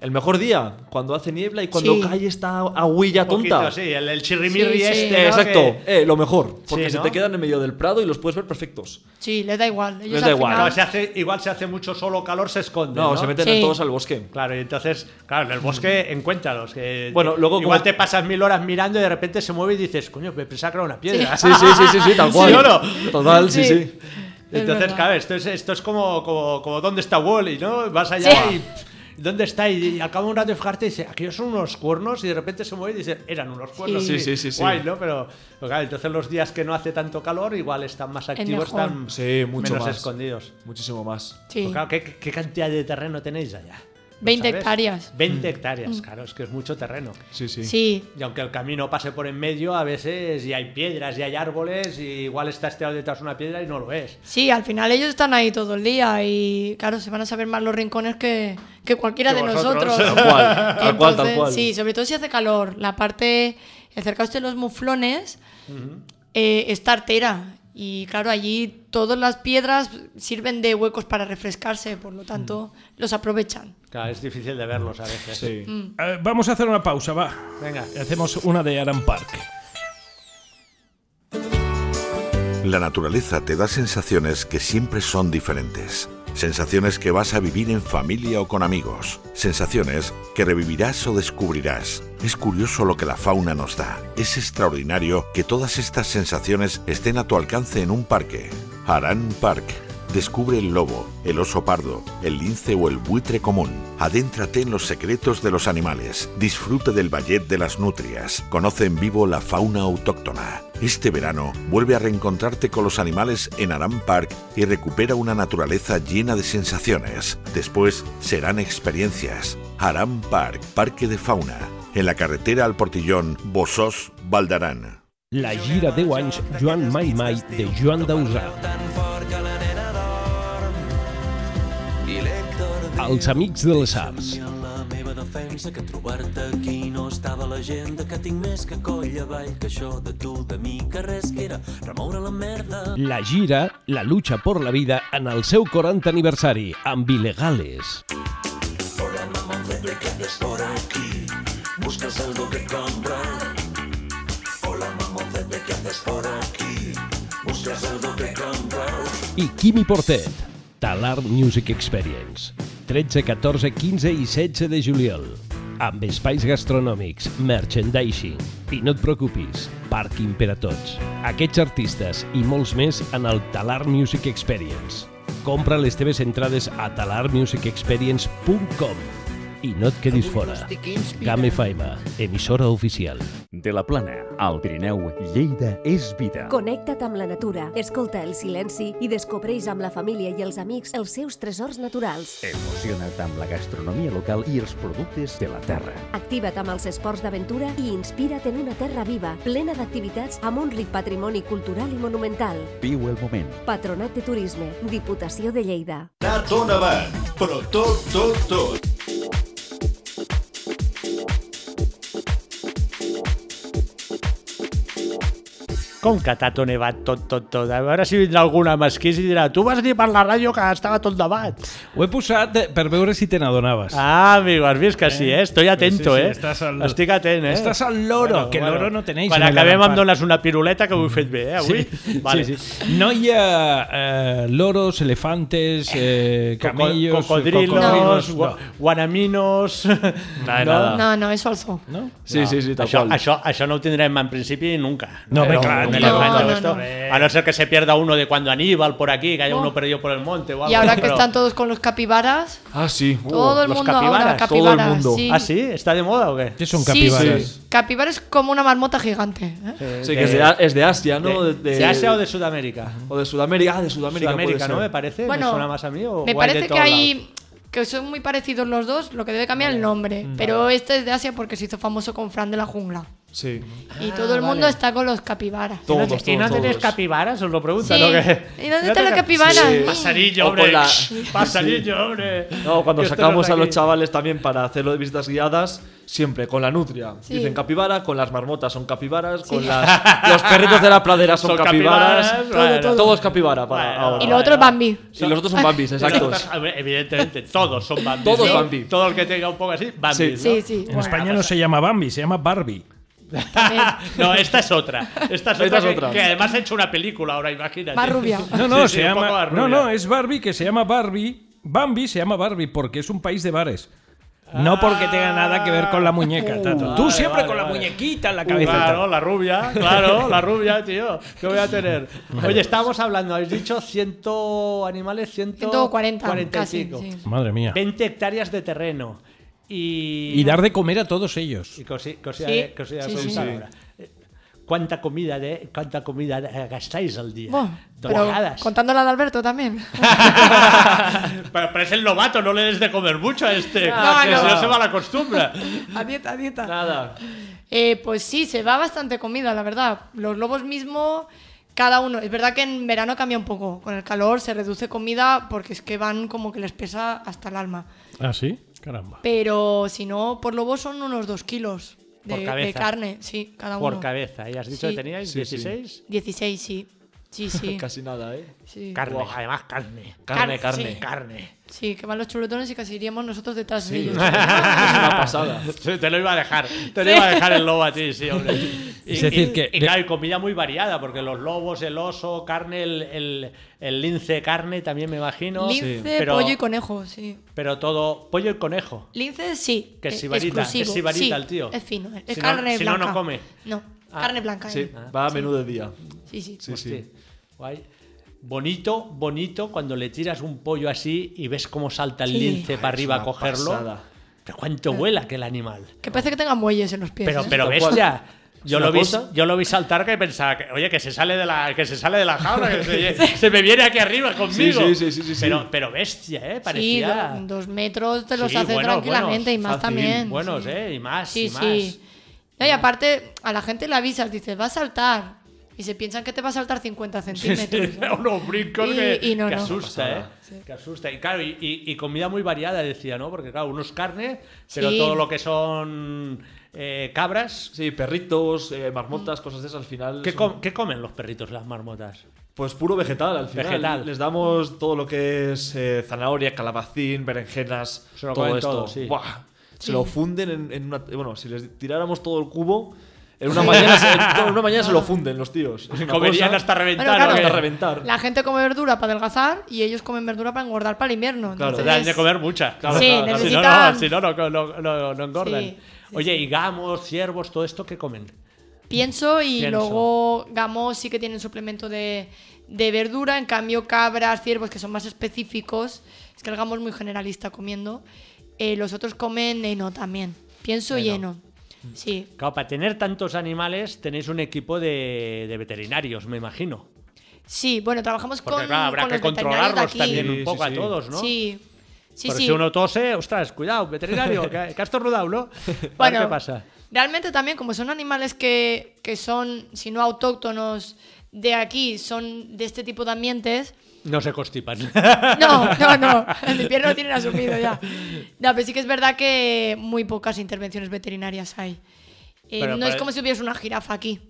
el mejor día, cuando hace niebla y cuando Sí. cae esta agüilla Un poquito tonta. así, el, el chirrimirri Sí, sí. este. Eh, ¿no? exacto, Que- eh, lo mejor, porque Sí, se ¿no? te quedan en medio del prado y los puedes ver perfectos. Sí, les da igual. Ellos Les da al igual. final- no, se hace, igual se hace mucho solo calor, se esconde. No, No, se meten Sí. todos al bosque. Claro, y entonces, claro, en el bosque encuéntralos. Que Bueno, luego igual como- te pasas mil horas mirando y de repente se mueve y dices, coño, me pensaba que era una piedra. Sí, sí, sí, sí, sí, tal cual. ¿Sí o no? Total, sí, sí. Es Entonces, verdad. claro, esto es, esto es como, como, como dónde está Wally, ¿no? Vas allá Sí. y pff, ¿dónde está? Y, y al cabo de un rato de fijarte dice, aquellos son unos cuernos y de repente se mueve y dice, eran unos cuernos. Sí, sí, sí, sí. Guay, ¿no? Pero, pero claro, entonces los días que no hace tanto calor igual están más activos, mejor. están Sí, mucho menos más. escondidos. Muchísimo más. Sí. Pues claro, ¿qué, qué cantidad de terreno tenéis allá? ¿Lo 20 sabes? hectáreas. Mm. 20 Mm. hectáreas, claro, es que es mucho terreno. Sí, sí. Sí. Y aunque el camino pase por en medio, a veces y hay piedras y hay árboles, y igual está esteado detrás de una piedra y no lo es. Sí, al final ellos están ahí todo el día y claro, se van a saber más los rincones que, que cualquiera Que de vosotros. nosotros. Tal cual, tal cual, tal Entonces, cual. Sí, sobre todo si hace calor. La parte, acercaos de los muflones, eh, es tartera. Y claro, allí todas las piedras sirven de huecos para refrescarse, por lo tanto, los aprovechan. Claro, es difícil de verlos a veces. Sí. Eh, vamos a hacer una pausa, va. Venga. Hacemos una de Aran Park. La naturaleza te da sensaciones que siempre son diferentes. Sensaciones que vas a vivir en familia o con amigos. Sensaciones que revivirás o descubrirás. Es curioso lo que la fauna nos da. Es extraordinario que todas estas sensaciones estén a tu alcance en un parque. Harán Park. Descubre el lobo, el oso pardo, el lince o el buitre común. Adéntrate en los secretos de los animales. Disfruta del ballet de las nutrias. Conoce en vivo la fauna autóctona. Este verano vuelve a reencontrarte con los animales en Aram Park y recupera una naturaleza llena de sensaciones. Después serán experiencias. Aram Park, Parque de Fauna, en la carretera al Portillón, Bossós, Valdarán. La gira de anys Joan Mai Mai de Joan Dausà. Els amics de les arts. defensa que trobar-te aquí no estava a l'agenda que tinc més que coll avall que això de tu, de mi, que res que era remoure la merda La gira La lucha por la vida en el seu 40 aniversari amb Ilegales. I Quimi Portet, Talar Music Experience. 13, 14, 15 i 16 de juliol. Amb espais gastronòmics, merchandising. I no et preocupis, pàrquing per a tots. Aquests artistes i molts més en el Talar Music Experience. Compra les teves entrades a talarmusicexperience.com i no et quedis fora. Game FM, emissora oficial. De la Plana, al Pirineu, Lleida és vida. Connecta't amb la natura, escolta el silenci i descobreix amb la família i els amics els seus tresors naturals. Emociona't amb la gastronomia local i els productes de la terra. Activa't amb els esports d'aventura i inspira't en una terra viva, plena d'activitats amb un ric patrimoni cultural i monumental. Viu el moment. Patronat de Turisme, Diputació de Lleida. Anat on avant, però tot, tot, tot. Com que t'ha tonevat tot, tot, tot? A veure si vindrà alguna mesquís i dirà tu vas dir per la ràdio que estava tot debat. Ho he posat eh, per veure si te n'adonaves. Ah, amigo, has vist que sí, eh? Estoy atento, Sí, sí, eh? estàs al- Estic atent, eh? Estàs al loro, que loro no tenéis Quan en el acabem em Lampard. dones una piruleta que ho he fet bé, eh, avui? Vale. Sí, sí. No hi ha eh, loros, elefantes, eh, Coco- camellos, cocodrilos, cocodrilos, gua- no. guanaminos... Nada, nada. No, no, es falso. No? Sí, sí, sí, tal Això, cual. això, això no ho tindrem en principi nunca. No, hombre, Pero claro, un tío. elefante No, o no, esto. no. A no ser que se pierda uno de cuando Aníbal por aquí, que haya Oh. uno perdido por el monte o algo. Y ahora que pero- Oh, están todos con los capibaras, Ah, sí. Uh, todo el los mundo ahora, capibaras, todo el capibaras. mundo. Sí. ¿Ah, sí? ¿Está de moda o qué? ¿Qué son Sí, capibaras? sí. Capibara es como una marmota gigante. ¿eh? sí, que es de, es de Asia, ¿no? de, De- de Asia o de Sudamérica? o de Sudamérica. Ah, de Sudamérica. Sudamérica, puede ¿no? ser. Me parece. Bueno, me suena más a mí. O o Me hay de parece que todos hay que son muy parecidos los dos, lo que debe cambiar el nombre. Mm. Pero este es de Asia porque se hizo famoso con Fran de la jungla. Sí. Y Ah, todo el mundo está con los capibaras. Todos, lados. ¿Y no todos, tenéis todos. capibaras? Os lo Sí. preguntan. ¿no? Que- ¿Y dónde ¿No están los tenéis- capibaras? Sí. Mm. Pasarillo, O hombre. con la- Pasarillo, hombre. No, cuando Que esto sacamos no a los está aquí. chavales también para hacerlo de visitas guiadas, siempre con la nutria. Sí. Dicen capibara, con las marmotas son capibaras, con las, los perritos de la pradera son, Son capibaras. capibaras, Todo- bueno. todo, es capibara para Bueno, ahora. Y lo otro es Bambi. Y los otros son bambis, exactos. A ver, Evidentemente, todos son Bambi. Todos ¿no? Bambi. Todo el que tenga un poco así, Bambi. ¿no? Sí, sí. En España no se llama Bambi, se llama Barbie. también. No, esta es otra. Esta es otra, Esta es que, otra. que además ha hecho una película ahora, imagínate. Más rubia. No, no, Sí, se sí, un poco llama. más No, rubia. no, es Barbie que se llama Barbie. Bambi se llama Barbie porque es un país de bares. No porque tenga nada que ver con la muñeca. Ah. Tato. Tú vale, siempre vale, con la vale. muñequita en la cabeza. Claro, Tato. la rubia, claro, la rubia, tío. ¿Qué voy a tener? Oye, estábamos hablando, habéis dicho 100 animales, 145. 140, casi, sí. Madre mía. 20 hectáreas de terreno. Y, Y dar de comer a todos ellos. y cosi- cosi- Sí, cosi- sí, cosi- sí. ahora. Eh, ¿Cuánta comida, de, cuánta comida eh, gastáis al día? Buah, pero Toneladas. contándola de Alberto también. pero, pero es el novato, no le des de comer mucho a este. No, que no. Si no se va la costumbre. a dieta, a dieta. Nada. Eh, pues sí, se va bastante comida, la verdad. Los lobos mismo, cada uno. Es verdad que en verano cambia un poco. Con el calor se reduce comida porque es que van como que les pesa hasta el alma. ¿Ah, sí? Caramba. Pero si no, por lobo son unos dos kilos. de, Por cabeza. de carne, sí, cada uno. Por cabeza. ¿Y has dicho Sí. que teníais Sí, sí. 16? 16, sí. Sí, sí. Casi nada, ¿eh? Sí. Carne, Buah. además carne. Carne, Car- carne. sí. Carne. Sí, que van los chuletones y casi iríamos nosotros detrás de Sí. ellos. Es una pasada. Sí, te lo iba a dejar. Te lo iba a dejar el lobo a ti, sí, hombre. Y, Es decir, y- que- y claro, y comida muy variada, porque los lobos, el oso, carne, el, el, el lince, carne también me imagino. Lince, Pero- pollo y conejo, sí. Pero todo, pollo y conejo. Lince, sí. Que es eh, sibarita, exclusivo, es sibarita sí, el tío. Es fino, es Si no- carne blanca. si no, no come. Ah, No, carne blanca. Sí, eh. va a menudo día. Sí, sí. Sí, Hostia, sí. guay. Bonito, bonito cuando le tiras un pollo así y ves cómo salta el Sí. lince Ay, para arriba es a una cogerlo. pasada. Pero cuánto vuela que el animal. Que parece que tenga muelles en los pies. Pero, ¿eh? pero Tal cual. bestia. Yo Es una lo, vi, cosa. yo lo vi saltar que pensaba que, oye, que se sale de la, que se sale de la jaula, que se, se me viene aquí arriba conmigo. Sí, sí, sí, sí, sí. Pero, pero bestia, ¿eh? Parecía. Sí, do- dos metros te los Sí, hace bueno, tranquilamente y buenos, fácil, más también. Buenos, sí. ¿eh? Y más, Sí, y más. sí. No, y aparte, a la gente le avisas, dices, va a saltar. Y se piensan que te va a saltar 50 centímetros. ¿no? unos brincos Y- que, y no, que no. asusta, ¿eh? Que asusta. Y claro, y, y- y comida muy variada, decía, ¿no? Porque claro, unos carne, pero Sí. todo lo que son eh, cabras. Sí, perritos, eh, marmotas, cosas de esas al final. ¿Qué, son- com- qué comen los perritos, las marmotas? Pues puro vegetal al final. Vegetal. Les damos todo lo que es eh, zanahoria, calabacín, berenjenas, Se lo todo comen esto. todo, sí. Buah, Sí. Se lo funden en, en una. Bueno, si les tiráramos todo el cubo, en una mañana, se, en una mañana se lo funden los tíos. Es una Comerían cosa- hasta reventar. Bueno, claro. ¿o qué? hasta reventar. La gente come verdura para adelgazar y ellos comen verdura para engordar para el invierno. Claro. entonces- Te dan de comer muchas, claro. Sí, claro, claro. necesitan- Si no, no, si no, no, no- no engordan. Sí, sí, Oye, y gamos, ciervos, todo esto, ¿qué comen? Pienso y Pienso. luego gamos sí que tienen suplemento de, de verdura, en cambio cabras, ciervos que son más específicos, es que el gamo es muy generalista comiendo, Eh, los otros comen heno también, pienso y heno, sí. Claro, para tener tantos animales tenéis un equipo de, de veterinarios, me imagino. Sí, bueno, trabajamos Porque con, claro, habrá con que los veterinarios de controlarlos aquí. también Sí, un poco sí, sí. a todos, ¿no? Sí, sí, Porque sí. si uno tose, ostras, cuidado, veterinario, que, que has tornudado, ¿no? A ver Bueno, ¿Qué pasa? Realmente también, como son animales que, que son, si no autóctonos de aquí, son de este tipo de ambientes, No se constipan. No, no, no. El invierno lo tienen asumido ya. No, pero sí que es verdad que muy pocas intervenciones veterinarias hay. Eh, Pero no para- es como si hubiese una jirafa aquí,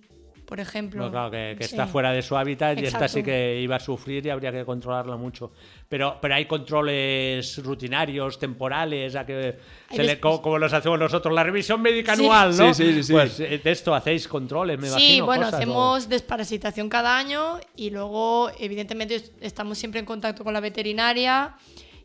por ejemplo. No, claro, que, que Sí. está fuera de su hábitat y esta Exacto. sí que iba a sufrir y habría que controlarla mucho. Pero, pero hay controles rutinarios, temporales, a que Hay se le- des- co- como los hacemos nosotros, la revisión médica Sí. anual, ¿no? Sí, sí, sí, sí. Pues eh, de esto hacéis controles, me imagino. Sí, bueno, cosas, ¿o? hacemos desparasitación cada año y luego, evidentemente, est- estamos siempre en contacto con la veterinaria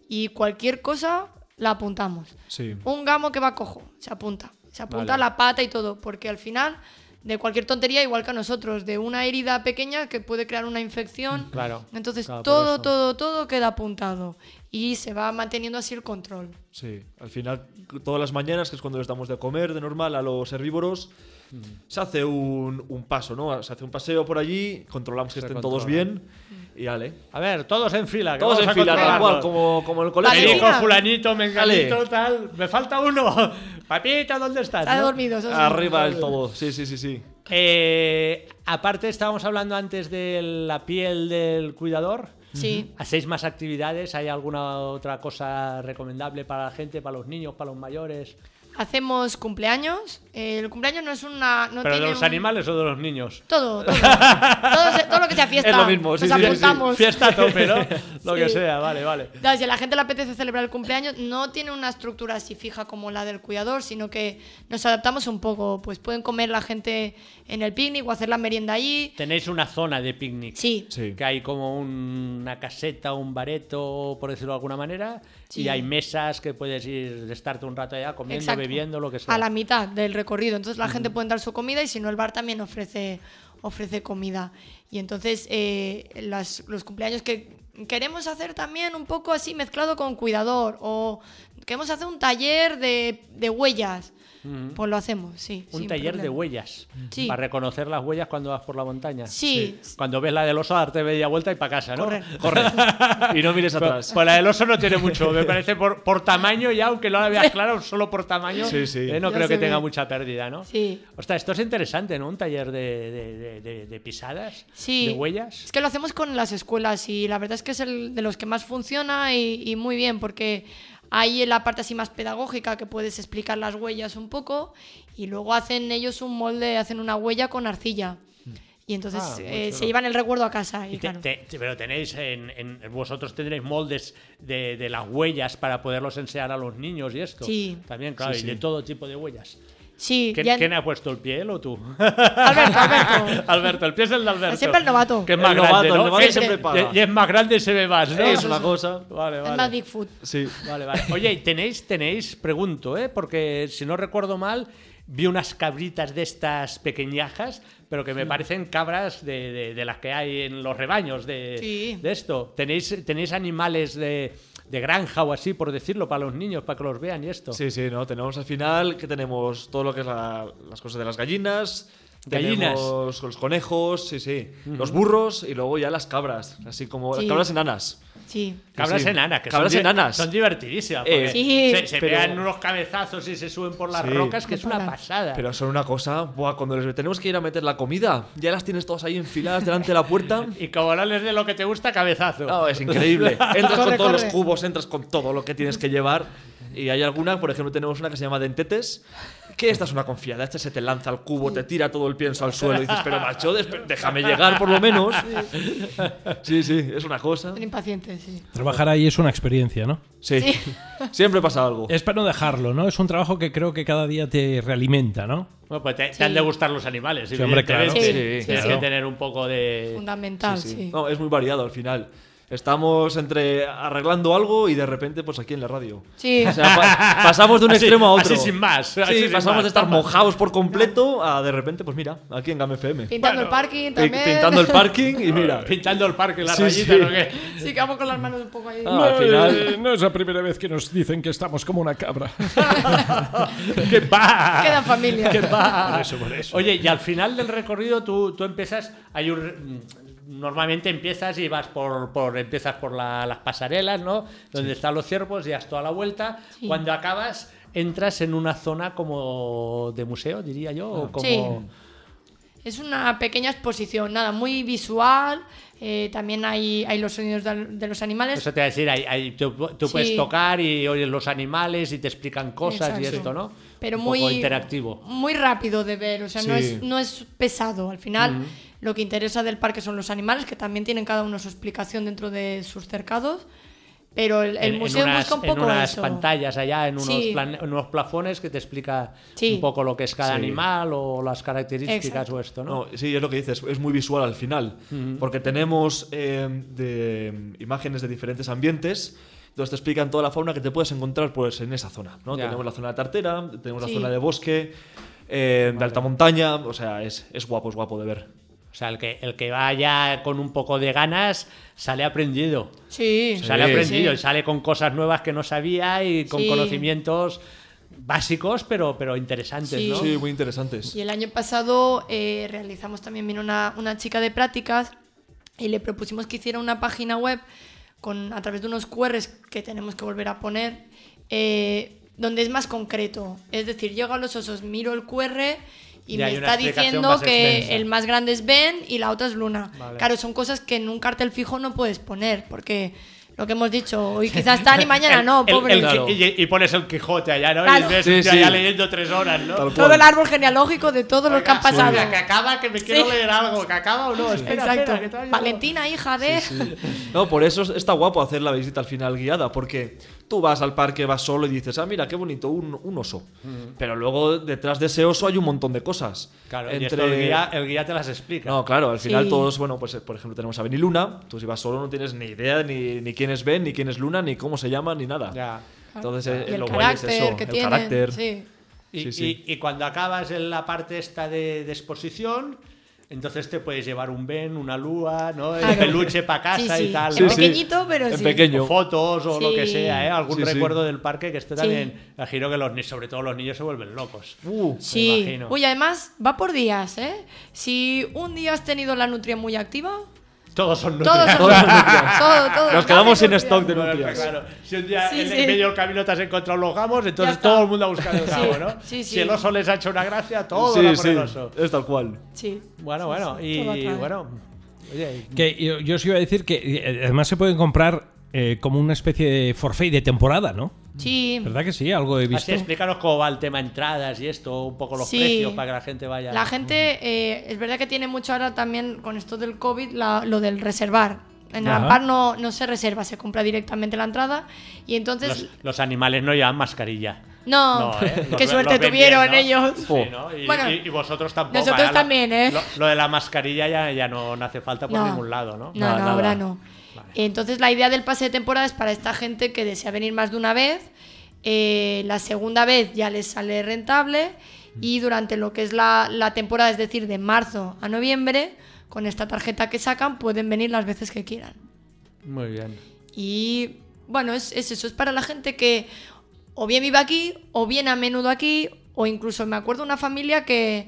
y cualquier cosa la apuntamos. Sí. Un gamo que va cojo, se apunta. Se apunta Vale. la pata y todo, porque al final, de cualquier tontería, igual que a nosotros, de una herida pequeña que puede crear una infección. Mm, Claro, Entonces, claro, por todo, eso. todo, todo queda apuntado y se va manteniendo así el control. Sí, al final, todas las mañanas, que es cuando les damos de comer de normal a los herbívoros, Mm. se hace un, un paso, ¿no? Se hace un paseo por allí, controlamos que Se estén todos controla. bien y ale. A ver, todos en fila. que Todos vamos en a fila, tal controlarlos. cual, como, como el Vale, colegio. Perico, Vecina. fulanito, menganito, tal. Me falta uno. Papita, ¿dónde estás? Está no? Ah, dormido. eso sí. Arriba del todo, sí, sí, sí, sí. Eh, aparte, estábamos hablando antes de la piel del cuidador. Sí. ¿Hacéis más actividades? ¿Hay alguna otra cosa recomendable para la gente, para los niños, para los mayores? Hacemos cumpleaños. Eh, el cumpleaños no es una. No ¿Pero de tiene los un- animales o de los niños? Todo, todo. todo, se- todo lo que sea Pues fiesta. Es lo mismo, sí, Nos sí, sí, sí. apuntamos. Fiesta a tope, ¿no? Lo que Sí. sea, vale, vale. No, si a la gente le apetece celebrar el cumpleaños, no tiene una estructura así fija como la del cuidador, sino que nos adaptamos un poco. Pues pueden comer la gente en el picnic o hacer la merienda allí. Tenéis una zona de picnic. Sí, Sí. Que hay como un- una caseta, un bareto, por decirlo de alguna manera, Sí. y hay mesas que puedes ir, estarte un rato allá comiendo, Exacto. bebiendo, lo que sea. A la mitad del recorrido. Entonces la gente puede dar su comida y si no, el bar también ofrece, ofrece comida. Y entonces eh, las- los cumpleaños que queremos hacer también un poco así mezclado con cuidador o queremos hacer un taller de, de huellas. Pues lo hacemos, sí. Un sin taller de problema. huellas. Sí. Para reconocer las huellas cuando vas por la montaña. Sí. Cuando ves la del oso, darte media vuelta y para casa, ¿no? Corre. Corre. y no mires Pues, atrás. pues la del oso no tiene mucho, me parece por, por tamaño ya, aunque no la veas claro, solo por tamaño, Sí, sí. eh, no Ya creo se que tenga ve. mucha pérdida, ¿no? Sí. sea, esto es interesante, ¿no? Un taller de, de- de- de- de pisadas, Sí. de huellas. Es que lo hacemos con las escuelas y la verdad es que es el de los que más funciona y, y muy bien porque Hay la parte así más pedagógica que puedes explicar las huellas un poco y luego hacen ellos un molde, hacen una huella con arcilla. Y entonces Ah, muy eh, chulo. se llevan el recuerdo a casa. Y, Y te- claro. te- te- pero tenéis en, en- vosotros tendréis moldes de, de las huellas para poderlos enseñar a los niños y esto. Sí. También, claro, Sí, y de sí. todo tipo de huellas. Sí, ¿Quién, ya- quién ha puesto el pie, él o tú? Alberto, Alberto. Alberto, el pie es el de Alberto. Siempre el novato. Que es más El grande, novato, el ¿no? novato Que- siempre paga. Y, y es más grande y se ve más, ¿no? Es una cosa. Vale, Es vale. más Bigfoot. Sí. Vale, vale. Oye, y tenéis, tenéis, pregunto, ¿eh? porque si no recuerdo mal, vi unas cabritas de estas pequeñajas, pero que me parecen cabras de, de- de las que hay en los rebaños de, Sí. de esto. ¿Tenéis, tenéis animales de, de granja o así, por decirlo, para los niños, para que los vean y esto? Sí, sí, ¿no? Tenemos al final que tenemos todo lo que es la- las cosas de las gallinas. Gallinas. Tenemos los conejos, sí, sí. Los burros y luego ya las cabras. Así como Sí. las cabras enanas. Sí. Cabras Sí, sí. enanas, que Cabras son, di- enanas. son divertidísimas. Eh, porque Sí. se, se pero- pegan unos cabezazos y se suben por las Sí. rocas, que es una Ojalá. pasada. Pero son una cosa, buah, cuando les tenemos que ir a meter la comida, ya las tienes todas ahí enfiladas delante de la puerta. Y como no les de lo que te gusta, cabezazo. No, es increíble. Entras Corre, con todos corre. los cubos, entras con todo lo que tienes que llevar. Y hay alguna, por ejemplo, tenemos una que se llama Dentetes, que esta es una confiada. Esta se te lanza al cubo, te tira todo el pienso al suelo y dices, pero macho, despe- déjame llegar por lo menos. Sí, sí, es una cosa. Son impacientes, sí. Trabajar ahí es una experiencia, ¿no? Sí, siempre pasa algo. Es para no dejarlo, ¿no? Es un trabajo que creo que cada día te realimenta, ¿no? Bueno, pues te, te Sí. han de gustar los animales. Sí, hombre, claro. evidentemente. Sí, sí, Tienes sí. que tener un poco de. Fundamental, sí. Sí. No, es muy variado al final. Estamos entre arreglando algo y de repente, pues aquí en la radio. Sí. O sea, pa- pasamos de un Así- extremo a otro. así sin más, Sí, así sin pasamos más, de estar tapas. mojados por completo a de repente, pues mira, aquí en Game FM. Pintando el parking Pi- también. eh, Pintando el parking y mira. Pintando el parque, la Sí, rayita, sí. ¿no qué? Sí, que vamos con las manos un poco ahí. Ah, al final. eh, no es la primera vez que nos dicen que estamos como una cabra. ¡Qué va! Queda en familia. ¡Qué va! Oye, y al final del recorrido tú, tú empiezas. Hay un. mm, Normalmente empiezas y vas por, por empiezas por la- las pasarelas, ¿no? Donde están los ciervos y das toda la vuelta. Sí. Cuando acabas, entras en una zona como de museo, diría yo, o como Sí. Es una pequeña exposición, nada, muy visual. eh, también hay, hay los sonidos de, de los animales. Eso te va a decir, ahí- ahí tú, tú Sí. puedes tocar y oyes los animales y te explican cosas y Exacto. esto, ¿no? Pero Un muy poco interactivo. Muy rápido de ver, o sea, no, Sí. es, no es pesado. Al final, lo que interesa del parque son los animales, que también tienen cada uno su explicación dentro de sus cercados. Pero el, el En- en museo unas- busca un en poco unas eso. pantallas allá, en unos, Sí. plan- en unos plafones que te explica Sí. un poco lo que es cada Sí. animal o las características Exacto. o esto, ¿no? No, sí, es lo que dices, es muy visual al final, porque tenemos eh, de, imágenes de diferentes ambientes, entonces te explican toda la fauna que te puedes encontrar pues, en esa zona. ¿no? Ya. Tenemos la zona de tartera, tenemos Sí. la zona de bosque, eh, de alta montaña, o sea, es, es guapo, es guapo de ver. O sea, el que, el que vaya con un poco de ganas sale aprendido. Sí, Sale Sí. aprendido Sí. y sale con cosas nuevas que no sabía y con Sí. conocimientos básicos, pero, pero interesantes, Sí. ¿no? Sí, muy interesantes. Y el año pasado eh, realizamos también, vino una, una chica de prácticas y le propusimos que hiciera una página web con, a través de unos QRs que tenemos que volver a poner, eh, donde es más concreto. Es decir, llego a los osos, miro el QR y, Y me hay una está explicación diciendo más que extensa. el más grande es Ben y la otra es Luna. Vale. Claro, son cosas que en un cartel fijo no puedes poner, porque lo que hemos dicho, hoy quizás están y mañana El- no, el- pobre. el- y, y pones el Quijote allá, ¿no? Claro. Y ves Sí, un tío sí. allá leyendo tres horas, ¿no? Tal Todo cual. el árbol genealógico de todos los que han pasado. Mira, que acaba, que me quiero leer algo, que acaba o no. Espera, Exacto. espera, que todavía no. Valentina, hija de. No, por eso está guapo hacer la visita al final guiada, porque tú vas al parque, vas solo y dices, ah, mira, qué bonito, un, un oso. Pero luego detrás de ese oso hay un montón de cosas. Claro, y esto el guía, el guía te las explica. No, claro, al final Sí. todos, bueno, pues eh, por ejemplo tenemos a Ben y Luna, tú si vas solo no tienes ni idea ni, ni quién es Ben, ni quién es Luna, ni cómo se llama, ni nada. Ya. Entonces eh, Ah, Y el lo guay es carácter eso, que el tiene. carácter. Sí. Y, Sí, sí. y- y cuando acabas en la parte esta de, de exposición, entonces te puedes llevar un Ben, una lúa, ¿no? el Claro. peluche para casa Sí, sí. y tal. Sí, ¿no? sí. pequeñito, pero En sí. pequeño. O fotos o lo que Sí. sea, ¿eh? algún Sí, sí. recuerdo del parque que esté Sí. también. Imagino que los, ni- sobre todo los niños se vuelven locos. Uh, Sí. imagino. Uy, además va por días, ¿eh? Si un día has tenido la nutria muy activa, Todos son todos nutrias. son nutrias. Todo, todo. nos quedamos sin Dale stock de nutria. Bueno, está nutrias. claro. Si un día Sí, en sí. el medio del camino te has encontrado los gamos, entonces está. todo el mundo ha buscado el Sí, gamo, ¿no? sí, sí. Si el oso les ha hecho una gracia, todo sí, va por sí, el oso. es tal cual. Sí. Bueno, Sí, bueno, sí, todo y atrae. bueno. Oye, Que yo, yo os iba a decir que eh, además se pueden comprar eh, como una especie de forfait de temporada, ¿no? Sí. ¿Verdad que sí? Algo he visto. Así, explícanos cómo va el tema entradas y esto, un poco los Sí. precios para que la gente vaya. La gente, eh, es verdad que tiene mucho ahora también con esto del COVID, la- lo del reservar. En Ajá. Alampar no, no se reserva, se compra directamente la entrada y entonces... Los, los animales no llevan mascarilla. No, ¿eh? Los- qué los suerte ven tuvieron bien, ¿no? ellos. Oh. Sí, ¿no? Y, Bueno, y- y vosotros tampoco. nosotros ¿eh? también, ¿eh? Lo, lo de la mascarilla ya, ya no, no hace falta por No. ningún lado, ¿no? No, no, ahora no. Entonces la idea del pase de temporada es para esta gente que desea venir más de una vez. eh, la segunda vez ya les sale rentable y Mm. durante lo que es la, la temporada, es decir, de marzo a noviembre, con esta tarjeta que sacan pueden venir las veces que quieran. Muy bien. Y bueno, es, es eso, es para la gente que o bien vive aquí, o bien a menudo aquí, o incluso me acuerdo una familia que,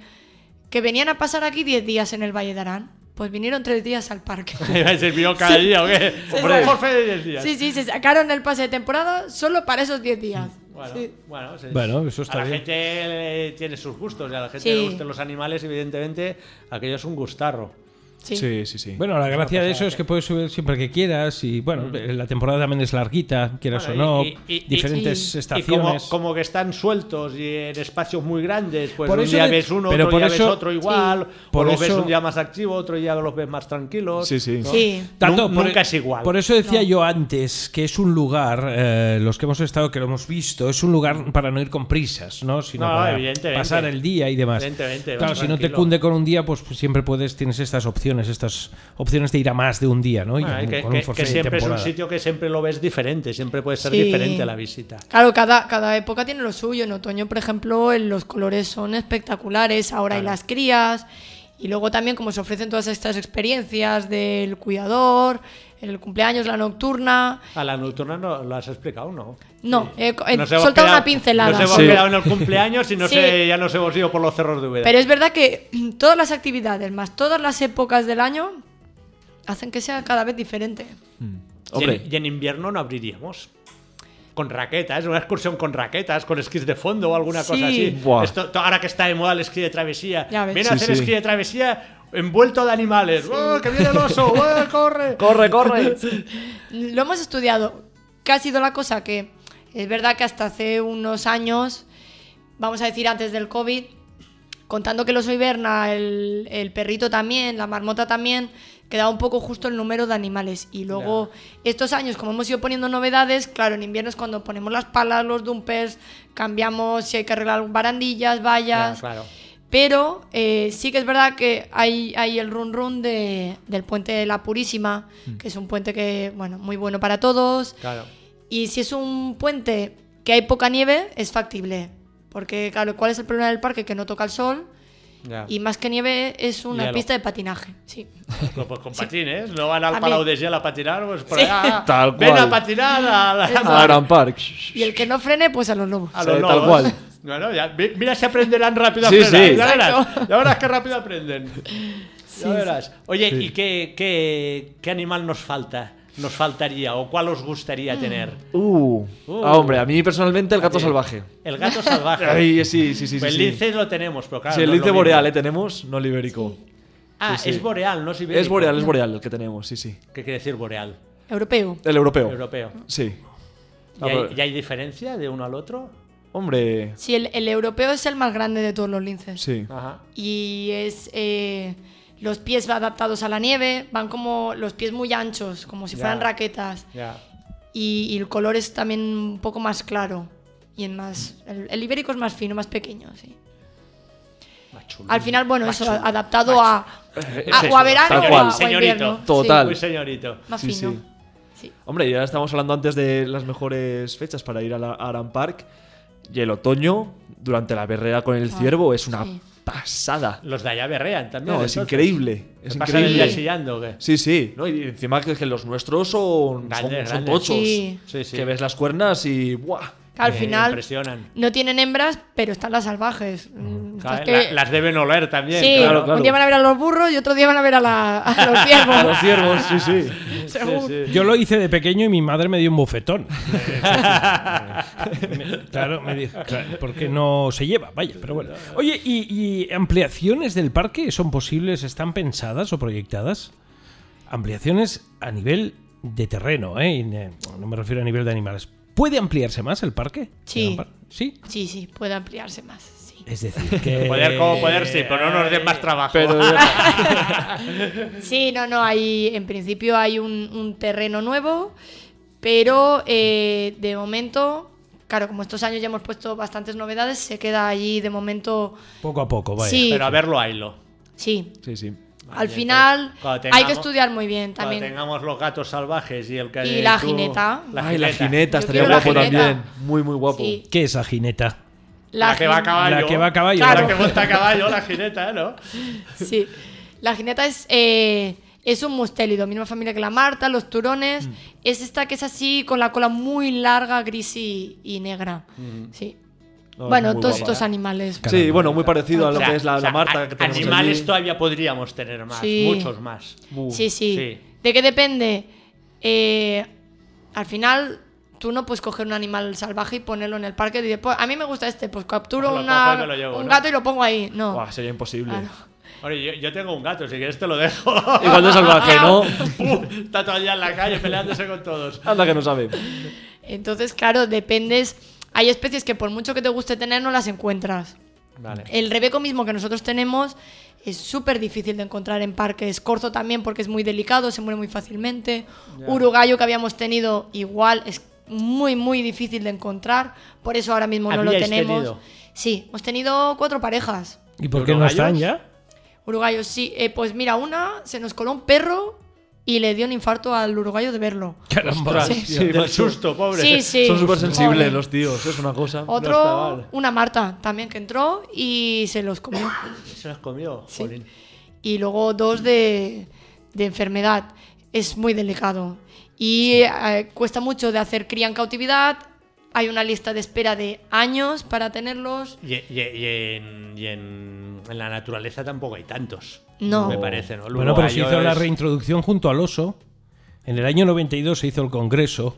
que venían a pasar aquí 10 días en el Valle de Arán. Pues vinieron tres días al parque. ¿Se vio cada Sí. día o qué? Sí, Hombre, sí. por fe de diez días. Sí, sí, se sacaron el pase de temporada solo para esos 10 días. Bueno, Sí. bueno, sí. Bueno, eso está a la bien. gente eh, tiene sus gustos y a la gente Sí. le gustan los animales, evidentemente, aquello es un gustarro. Sí. Sí, sí, sí. Bueno, la gracia de eso es que puedes subir siempre que quieras y bueno, la temporada también es larguita, quieras Mm. Bueno, o no, y- y- y- diferentes y- Y como, estaciones. como que están sueltos y en espacios muy grandes, pues Por un eso día de- ves uno, pero otro por día eso- ves otro igual, Por o los ves eso- un día más activo, otro día los ves más tranquilos. Sí, sí. ¿no? Sí. Tanto, Nun- por- e- nunca es igual. Por eso decía yo antes que es un lugar, eh, los que hemos estado, que lo hemos visto, es un lugar para no ir con prisas, ¿no? Sino No, para evidentemente. pasar el día y demás. Evidentemente, claro, vas si no te tranquilo. cunde con un día, pues, pues, siempre puedes, tienes estas opciones, estas opciones de ir a más de un día, ¿no? Y Bueno, con- que, con que- que un forfait de siempre es un temporada. sitio que siempre lo ves diferente, siempre puede ser Sí. diferente la visita. Claro, cada, cada época tiene lo suyo. En otoño, por ejemplo, el- los colores son espectaculares. Ahora hay las crías. Y luego también, como se ofrecen todas estas experiencias del cuidador, el cumpleaños, la nocturna. A la nocturna no lo has explicado, ¿no? No, eh, co- eh, Nos hemos solta quedado- una pincelada. Nos hemos quedado en el cumpleaños y no Sí. sé, ya nos hemos ido por los cerros de Úbeda. Pero es verdad que todas las actividades, más todas las épocas del año, hacen que sea cada vez diferente. Y Hombre. en, y en invierno no abriríamos. Con raquetas, una excursión con raquetas, con esquís de fondo o alguna cosa Sí. así. Buah. Esto, to- ahora que está de moda el esquí de travesía. Ya ves. Viene a Sí, hacer sí. esquí de travesía envuelto de animales. ¡Oh, que viene el oso! ¡Oh, corre! Corre, corre. Lo hemos estudiado. Que ha sido la cosa que es verdad que hasta hace unos años, vamos a decir antes del COVID, contando que el oso hiberna, el, el perrito también, la marmota también, quedaba un poco justo el número de animales. Y luego estos años, como hemos ido poniendo novedades, claro, en invierno es cuando ponemos las palas, los dumpers, cambiamos si hay que arreglar barandillas, vallas. claro. Pero eh, sí que es verdad que hay, hay el run run de, del puente de la Purísima, que es un puente que, bueno, muy bueno para todos. Claro. Y si es un puente que hay poca nieve, es factible. Porque, claro, ¿cuál es el problema del parque? Que no toca el sol. Ya. Y más que nieve es una Hielo. pista de patinaje. Sí. Bueno, pues con patines, no van al También. Palau de Gel a patinar, pues por allá. Tal Ven cual. a patinar a la- A Gran Park. Y el que no frene, pues a los lobos. a Sí, los tal lobos. cual. Bueno, ya, mi- mira si aprenderán rápido a Sí, frenar. sí. Ya verás, Exacto. ya verás qué rápido aprenden. ya verás. Oye, Sí. ¿y qué, qué, qué animal nos falta? ¿Nos faltaría o cuál os gustaría tener? Uh. Uh. Ah, hombre, a mí personalmente el gato salvaje. El gato salvaje. Ay, sí, sí, sí. Pues sí, el sí. lince lo tenemos, pero claro. Sí, el no es lince lo mismo. boreal, ¿eh? Tenemos, no el ibérico. Ah, Sí, sí. es boreal, no Es boreal, es boreal. boreal el que tenemos, sí, sí. ¿Qué quiere decir boreal? Europeo. El europeo. Europeo. Sí. ¿Y Ah, hay, pero- y hay diferencia de uno al otro? Hombre, Sí, el, el europeo es el más grande de todos los linces. sí. Ajá. y es eh, los pies adaptados a la nieve, van como los pies muy anchos, como si Ya. fueran raquetas. Ya. Y, y el color es también un poco más claro. Y en más, el, el ibérico es más fino, más pequeño, sí. Más chulo. Al final, bueno, eso, adaptado a, a- Es o a eso, verano tal o cual. a, o a invierno. Señorito. Total. Muy señorito. Sí, más Sí, fino. sí. Sí. Hombre, ya estábamos hablando antes de las mejores fechas para ir a, la, a Aran Park. Y el otoño, durante la berrea con el Ah, ciervo, es una sí. pasada. Los de allá berrean también. No, es entonces. increíble. Es ¿Se pasan el día increíble. chillando o qué? Sí, sí. ¿no? Y encima que, que los nuestros son, Grandes, son, son grandes. tochos. Sí. Sí, sí. Que ves las cuernas y. ¡Buah! Al Eh, final, Impresionan. no tienen hembras, pero están las salvajes. Mm, estas Claro, que- la- las deben oler también. sí, claro, un claro. día van a ver a los burros y otro día van a ver a, la- a los ciervos. Los ciervos, sí, sí. según. Yo lo hice de pequeño y mi madre me dio un bofetón. Me- claro, me dijo, claro, porque no se lleva, vaya, pero bueno. Oye, ¿y, y ampliaciones del parque son posibles, están pensadas o proyectadas? Ampliaciones a nivel de terreno, ¿eh? Y, eh, No me refiero a nivel de animales. ¿Puede ampliarse más el parque? Sí. ¿Sí? Sí, sí, puede ampliarse más. Sí. Es decir, que... Poder como poder, sí, pero no nos den más trabajo. Pero- Sí, no, no, hay, en principio hay un, un terreno nuevo, pero eh, de momento, claro, como estos años ya hemos puesto bastantes novedades, se queda allí de momento, Poco a poco, vaya. Sí. Pero a verlo, haylo. sí. Sí, sí. Al final cuando hay tengamos- que estudiar muy bien Cuando también. tengamos los gatos salvajes y el que Y la tú- jineta. La Ay, la jineta. jineta, Yo estaría quiero la guapo jineta. también. Muy, muy guapo. Sí. ¿Qué es la jineta? La, que va a jin- caballo. La que va a caballo. Claro, ¿no? que monta a caballo, la jineta, ¿no? Sí. La jineta es, eh, es un mustélido, misma familia que la Marta, los turones. Es esta que es así, con la cola muy larga, gris y, y negra. Sí. bueno, muy todos guapa. estos animales. Sí, bueno, muy parecido a lo O sea, que es la, o sea, la Marta a- que tenemos Animales allí. todavía podríamos tener más, Sí. muchos más. Sí, sí. Sí. ¿De qué depende? Eh, al final, tú no puedes coger un animal salvaje y ponerlo en el parque y después, a mí me gusta este, pues capturo Lo una- cojo y me lo llevo, un ¿no? gato y lo pongo ahí. No. Buah, sería imposible. Claro. Oye, yo, yo tengo un gato, si quieres te lo dejo. Igual de salvaje, ¿no? Pum, Está todavía en la calle peleándose con todos. Anda que no sabe. Entonces, claro, dependes. Hay especies que por mucho que te guste tener, no las encuentras. Vale. El rebeco mismo que nosotros tenemos es súper difícil de encontrar en parques. Corzo también porque es muy delicado, se muere muy fácilmente. Uruguayo que habíamos tenido igual es muy, muy difícil de encontrar. Por eso ahora mismo no lo ¿Habíais tenemos. tenido? Sí, hemos tenido cuatro parejas. ¿Y por qué no están ya? Uruguayos, sí. Eh, pues mira, una se nos coló un perro y le dio un infarto al uruguayo de verlo. Caramba. Sí, Del macho. susto, pobre. Sí, sí. eh, Son súper sensibles Pobre. los tíos, es una cosa. Otro, una Marta también que entró y se los comió. Se los comió. Sí. jolín. Y luego dos de, de enfermedad. Es muy delicado. Y eh, cuesta mucho de hacer cría en cautividad. Hay una lista de espera de años para tenerlos. Y, y- y en, y en- en la naturaleza tampoco hay tantos. No. Me parece, ¿no? El Bueno, pero se uruguayo hizo la es- reintroducción junto al oso. En el año 92 se hizo el Congreso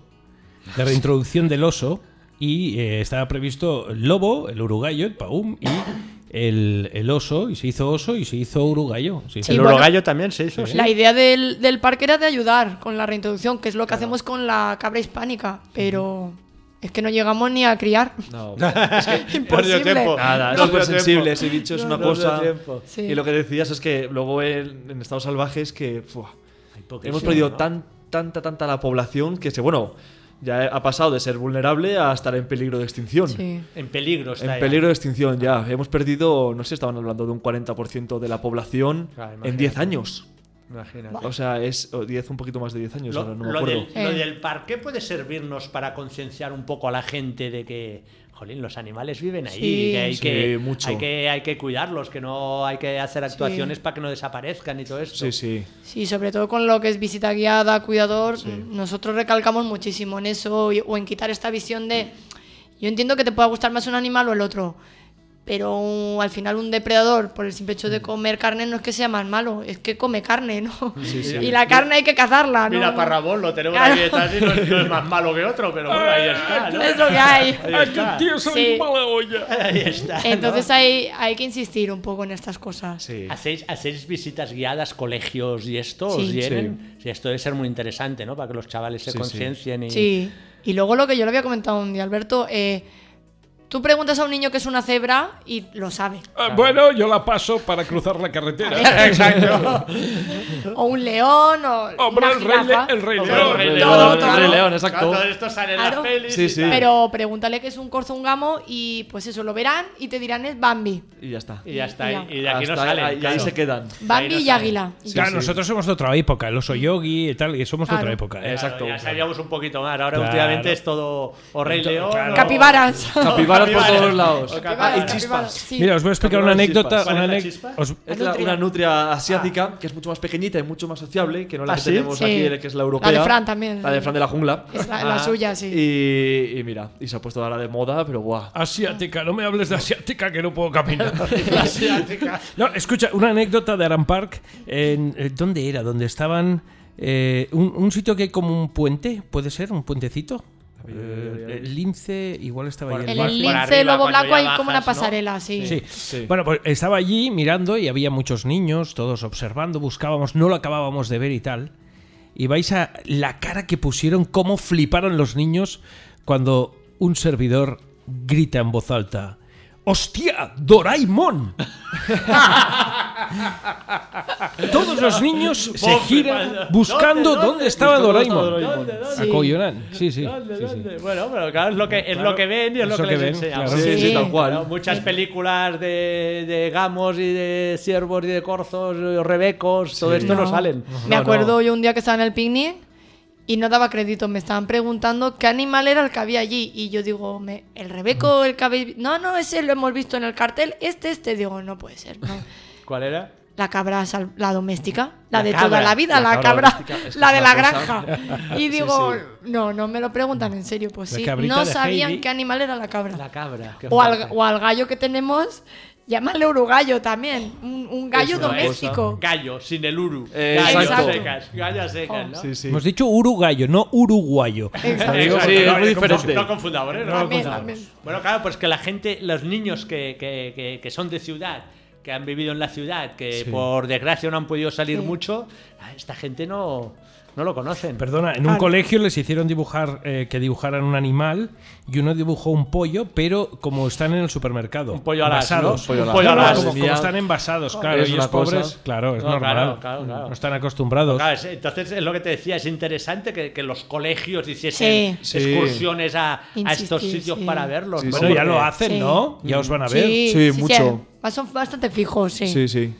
de reintroducción del oso y eh, estaba previsto el lobo, el uruguayo, el paum y el, el oso. Y se hizo oso y se hizo uruguayo. Se hizo- Sí, El bueno, uruguayo también se hizo, Pues sí. La idea del, del parque era de ayudar con la reintroducción, que es lo que hacemos con la cabra hispánica. Pero es que no llegamos ni a criar. No. No dio Imposible. tiempo. Nada, es No súper dio tiempo. sensible ese bicho, es No, una no cosa. dio tiempo. Sí. Y lo que decías es que luego en, en estados salvajes que fuah, poquísimo, hemos perdido ¿no? tan, tanta, tanta la población que se, bueno, ya ha pasado de ser vulnerable a estar en peligro de extinción. Sí. En peligro está En ya. peligro de extinción ya. Hemos perdido, no sé, estaban hablando de un 40% de la población Claro, en imagínate. 10 años. Imagínate. O sea, es o 10, un poquito más de 10 años, Lo, ahora no me lo acuerdo. del, lo Eh. del parque puede servirnos para concienciar un poco a la gente de que, jolín, los animales viven ahí, Sí. que, hay, Sí, que mucho. hay que hay que cuidarlos, que no hay que hacer actuaciones para que no desaparezcan y todo esto. Sí, sí. Sí, sobre todo con lo que es visita guiada, cuidador, nosotros recalcamos muchísimo en eso y- o en quitar esta visión de yo entiendo que te pueda gustar más un animal o el otro, pero uh, al final un depredador por el simple hecho de comer carne no es que sea más malo, es que come carne, ¿no? Y la carne hay que cazarla, Ah, ¿no? Mira, Parrabón lo tenemos Claro. ahí detrás y no, es- no es más malo que otro, pero bueno, ahí está, ¿no? Es lo que hay. Ahí está. Sí. Ahí está, ¿no? Entonces hay, hay que insistir un poco en estas cosas. Sí. ¿Hacéis, hacéis visitas guiadas, colegios y esto? ¿Os Sí. vienen? Sí, esto debe ser muy interesante, ¿no? Para que los chavales se Sí, sí. conciencien y... Sí. Y luego lo que yo le había comentado un día, Alberto, eh, tú preguntas a un niño que es una cebra y lo sabe. Ah, Bueno, yo la paso para cruzar la carretera. Exacto. O un león, o Hombre, una el rey, jirafa. Le- el rey Hombre, León. el Rey Todo, León, todo. el Rey León, exacto. Todo esto sale en Claro. las pelis Sí, y sí. tal. Pero pregúntale que es un corzo, un gamo, y pues eso, lo verán y te dirán es Bambi. Y ya está. Y ya está, Ya. y- y de aquí no Hasta salen. ahí- y ahí claro. se quedan. Bambi no y sale. águila. Y- Claro, nosotros somos de otra época, el oso yogi y tal, y somos de Claro. otra época. ¿eh? Claro, Exacto. Ya sabíamos un poquito más. Ahora Claro. últimamente es todo o Rey León. claro. o- Capibaras. Capibaras por Capibaras. todos lados. O Ah, capibaras, y Capibaras, chispas. sí. Mira, os voy a explicar Capibaras una y chispas. anécdota. ¿Cuál una es la anec- chispa? os- Es la- Nutria. Ah. una nutria asiática que es mucho más pequeñita y mucho más sociable que no la ¿Ah, que sí? tenemos Sí. aquí, que es la europea. La de Fran también. La de Fran de la jungla. Es la, la Ah, suya, sí. Y, y mira, y se ha puesto ahora de moda, pero guau. Asiática, no me hables de asiática que no puedo caminar. No, escucha, una anécdota de Aran Park. en- eh, ¿Dónde era? ¿Dónde estaban? eh, un, un sitio que hay como un puente, ¿puede ser? ¿Un puentecito? Eh, el lince, igual estaba ahí. Por- el en Por el parque. arriba, lince lobo cuando ya blanco hay como bajas, una ¿no? pasarela, sí. Sí. Sí. Bueno, pues estaba allí mirando y había muchos niños, todos observando, buscábamos, no lo acabábamos de ver y tal. Y vais a la cara que pusieron, cómo fliparon los niños cuando un servidor grita en voz alta. ¡Hostia! ¡Doraemon! Todos los niños se giran buscando dónde, estaba Buscando dónde Doraemon. estaba Doraemon. ¿Dónde, dónde? Acoyonan. Sí, sí. ¿Dónde, sí, sí. dónde? Bueno, pero claro, es lo que, es lo que ven y es lo Eso que, que les ven, enseñamos. claro. Sí, sí, tal cual. Claro, muchas películas de, de gamos y de ciervos y de corzos, eh, rebecos, todo Sí. esto no, No. salen. Me acuerdo yo un día que estaba en el picnic y no daba crédito. Me estaban preguntando qué animal era el que había allí. Y yo digo, me- el Rebeco, el que habéis- No, no, ese lo hemos visto en el cartel. Este, este. Digo, no puede ser. no. ¿Cuál era? La cabra, sal- la doméstica. La, La de cabra, toda la vida, la la, cabra cabra, doméstica, es que la es de una la cosa. granja. Sí, Y digo, sí. no, no me lo preguntan en serio. Pues La sí, cabrita no de sabían Heidi. qué animal era la cabra. La cabra. qué O al, fuerte. o al gallo que tenemos, llámale urugallo también. Un, un gallo Es una doméstico. cosa. Gallo, sin el uru. Eh, gallo exacto. secas, gallo a secas, ¿no? Sí, sí. Pues Hemos dicho uruguayo, no uruguayo. Exacto. Lo digo Exacto, porque no, no no hay confundamos, confusión. No confundamos, ¿eh? No También, confundamos. también. Bueno, claro, pues que la gente, los niños que, que- que- que son de ciudad, que han vivido en la ciudad, que Sí. por desgracia no han podido salir Sí. mucho, a esta gente no, no lo conocen. Perdona, en un Ah, colegio les hicieron dibujar eh, que dibujaran un animal y uno dibujó un pollo, pero como están en el supermercado. Un pollo alas, ¿no? envasados. Un pollo No, alas. no, Pollo alas. como, como Genial. están envasados, claro. Es ellos una cosa. pobres, claro, es No, normal. Mm, claro, claro, claro. No están acostumbrados. Claro, es- entonces es lo que te decía, es interesante que, que los colegios hiciesen Sí. Sí. excursiones a, a estos Insistir, sitios sí. para verlos. Sí, ¿no? sí. Bueno, ya lo Porque- hacen, ¿no? Ya os van a ver. Sí, Sí, sí, mucho. sí, Son bastante fijos, sí. Sí, sí.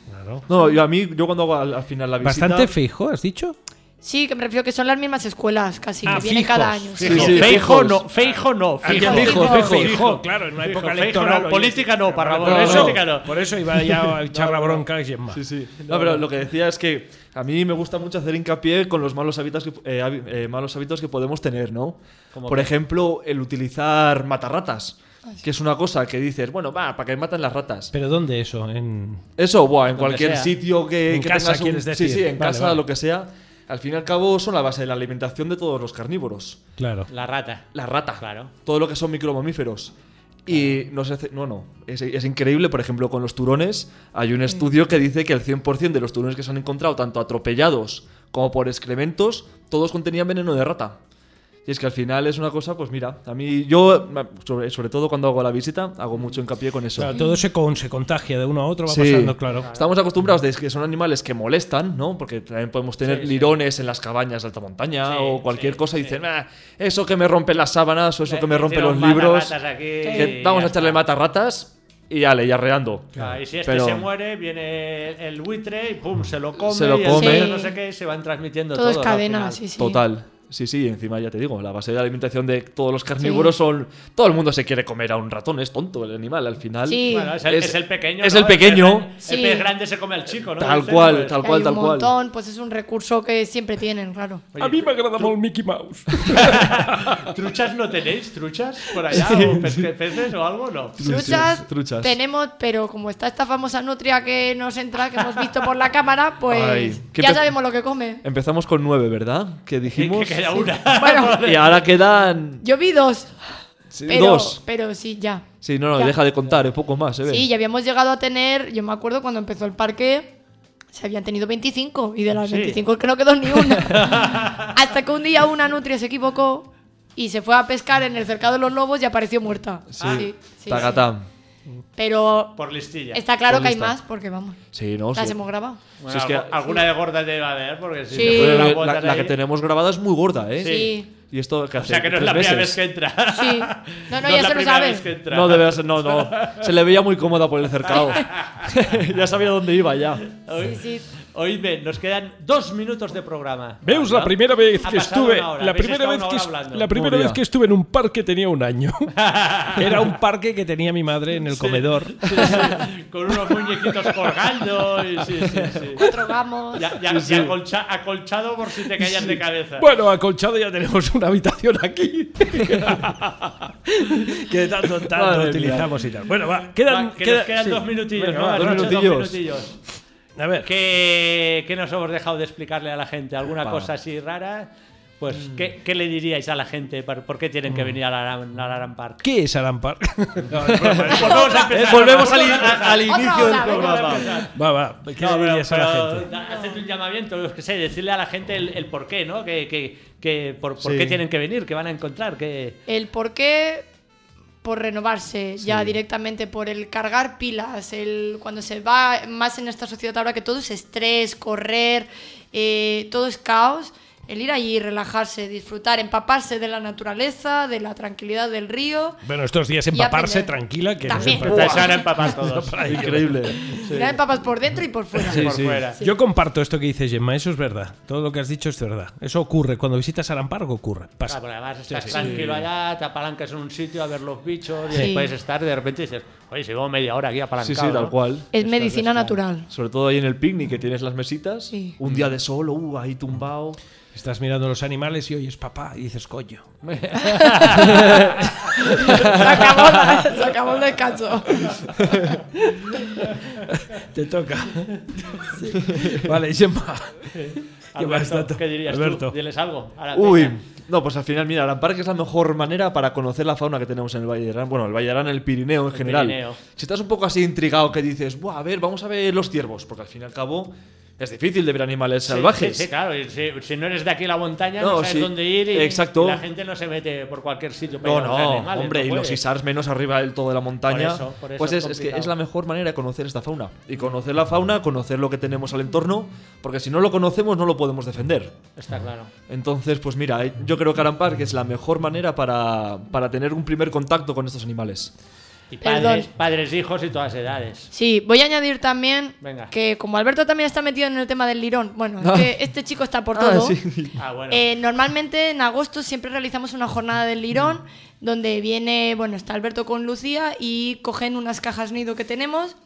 No, yo a mí, yo cuando hago al, al final la visita. Bastante fijo, ¿has dicho? Sí, que me refiero que son las mismas escuelas casi, Ah, que viene fijos, cada año. Sí, Fijo, sí, feijo fijos. no, feijo no, Ah, fijo, fijo, fijo, fijo, claro, en una época electoral, oye, política no, para no, no. política no. Por eso iba ya a echar la bronca a alguien más. Sí, sí. No, pero lo que decía es que a mí me gusta mucho hacer hincapié con los malos hábitos que, eh, hábi- eh, malos hábitos que podemos tener, ¿no? ¿Cómo Por qué? ejemplo, el utilizar matarratas, Ah, que es una cosa que dices, bueno, va, para que maten las ratas. ¿Pero dónde eso? En... Eso, buah, en Donde cualquier sea. sitio que, En que casa, tengas un- quieres decir. Sí, sí, en Vale, casa, vale. lo que sea. Al fin y al cabo son la base de la alimentación de todos los carnívoros. Claro. La rata. La rata. Claro. Todo lo que son micromamíferos. Y no se hace. No, no. Es, es increíble, por ejemplo, con los turones. Hay Mm. un estudio que dice que el 100% de los turones que se han encontrado, tanto atropellados como por excrementos, todos contenían veneno de rata. Y es que al final es una cosa, pues mira, a mí yo, sobre, sobre todo cuando hago la visita, hago mucho hincapié con eso. Mm. Claro, todo se, con, se contagia de uno a otro, va Sí. pasando, claro. Estamos acostumbrados de que son animales que molestan, ¿no? Porque también podemos tener lirones en las cabañas de alta montaña o cualquier cosa y dicen, "Ah, eso que me rompe las sábanas o eso Le que me rompe metieron los libros. matarratas aquí que y vamos ya a echarle matarratas y ya le, ya arreando. Claro, y si este se muere, viene el, el buitre y pum, se lo come, Se lo y el come. otro no sé qué, y se van transmitiendo todo. Todo es ¿no? Al cadena, final. sí, sí. Total. Sí, sí, encima ya te digo, la base de alimentación de todos los carnívoros son. Todo el mundo se quiere comer a un ratón, es tonto el animal al final. Sí. Bueno, es, el, es el pequeño. Es ¿no? el pequeño. gran- El, Sí. pez grande se come al chico, ¿no? Tal Dicen, cual, pues, tal Que cual, hay tal un cual. montón, pues es un recurso que siempre tienen, claro. a mí me agrada mucho el Mickey Mouse. ¿Truchas no tenéis? ¿Truchas por allá? Sí, ¿O pe- sí. peces o algo? No. Truchas, truchas. tenemos, pero como está esta famosa nutria que nos entra, que hemos visto por la cámara, pues Ay, qué ya pe- sabemos lo que come. Empezamos con nueve, ¿verdad? Que dijimos. Que queda una. y ahora quedan. Yo vi dos, sí, pero, dos. pero sí, ya. Sí, no, no, Ya. deja de contar, es poco más, se ve. Sí, ya habíamos llegado a tener, yo me acuerdo cuando empezó el parque, se habían tenido 25 y de las Sí. 25 que no quedó ni una. Hasta que un día una nutria se equivocó y se fue a pescar en el cercado de los lobos y apareció muerta. Sí, Ah, Pues sí, Tacatán. sí. Pero Por listilla. está claro Por que hay lista. más porque vamos, Sí, no, las sí. hemos grabado. Bueno, Si es que- algo- alguna de gorda debe haber, porque si Sí. se pone Eh, una la, bota la ahí- que tenemos grabada es muy gorda, ¿eh? Sí. Y esto que O sea que no es la primera vez que entra. Sí. No, no, ya se lo saben. No, debe ser, no, no. Se le veía muy cómoda por el cercado. ya sabía dónde iba ya. Sí, sí. Oídme, nos queedan dos minutos de programa. Veus, ¿No? la primera vez Ha que pasado estuve, una hora, la habéis primera estado vez una que hora est- hablando. la primera Hostia. vez que estuve en un parque tenía un año. Era un parque que tenía mi madre en el comedor. Con unos muñequitos colgando y sí, sí, sí. Cuatro gamos. Ya, ya, y acolcha- acolchado por si te caías de cabeza. Bueno, acolchado ya tenemos una habitación aquí. que de tanto en tanto Madre utilizamos y tal. Bueno, va, quedan, Va, que queda- nos quedan sí. dos minutillos, Venga, ¿no? va, Han dos dicho minutillos. minutillos. A ver, ¿Qué, qué nos hemos dejado de explicarle a la gente? ¿Alguna cosa así rara? Pues, ¿qué, qué le diríais a la gente? ¿Por, por qué tienen que Mm. venir al Aran, al Aran Park? ¿Qué es Alan Park? Pues Volvemos, a empezar. Volvemos al, in- a- al inicio del hora, venga, programa. vamos a empezar. Va, va, ¿qué No, le pero- dirías a la pero gente? da- haced un llamamiento, yo qué sé, decirle a la gente el, el por qué, ¿no? Que, que- que por, por Sí. qué tienen que venir, que van a encontrar, que... El por qué por renovarse ya directamente, por el cargar pilas, el cuando se va más en esta sociedad ahora que todo es estrés, correr, eh, todo es caos, el ir allí, relajarse, disfrutar, empaparse de la naturaleza, de la tranquilidad del río. Bueno, estos días Y empaparse aprender. tranquila, que También. nos empapamos. Se van a empapar todos. Increíble. Sí. Mirar empapas por dentro y por fuera. Sí, por sí. fuera. Yo comparto esto que dice Gemma, eso es verdad. Todo lo que has dicho es verdad. Eso ocurre. Cuando visitas Alan Park ocurre. Pasa. Claro, porque además estás tranquilo allá, te apalancas en un sitio a ver los bichos y Sí. ahí puedes estar y de repente dices, oye, si llevo media hora aquí apalancado. Sí, sí, tal ¿no? cual. Es medicina natural. Sobre todo ahí en el picnic que tienes las mesitas. Sí. Un día de sol, uh, ahí tumbado. Estás mirando los animales y oyes papá y dices coño. Se acabó, la- se acabó el descanso. Te toca. Vale, Gemma. ¿Qué más, Alberto, Tato? ¿Qué dirías Alberto. tú? Diles algo. a la Uy, peña. no, pues al final, mira, Aran Park es la mejor manera para conocer la fauna que tenemos en el Valle de Arán. Bueno, el Valle de Arán, el Pirineo en general. Pirineo. Si estás un poco así intrigado que dices, Buah, a ver, vamos a ver los ciervos, porque al fin y al cabo es difícil de ver animales Sí, salvajes. Sí, sí, claro. y Si, si no eres de aquí a la montaña, No, no, sabes sí, dónde ir y, exacto. y la gente no se mete por cualquier sitio. para No, ir a no, los animales, hombre, no y los puede. isars menos arriba del todo de la montaña. Por eso, por eso pues es es, es que complicado. es la mejor manera de conocer esta fauna. Y conocer la fauna, conocer lo que tenemos al entorno, porque si no lo conocemos no lo podemos defender. Está claro. Entonces, pues mira, eh, yo creo que Aran Park es la mejor manera para, para tener un primer contacto con estos animales. Y Perdón. padres, padres, hijos y todas edades. Sí, voy a añadir también Venga. que como Alberto también está metido en el tema del lirón, bueno, es que este chico está por Ah, todo. sí. Ah, bueno. Eh, normalmente en agosto siempre realizamos una jornada del lirón Mm. donde viene, bueno, está Alberto con Lucía y cogen unas cajas nido que tenemos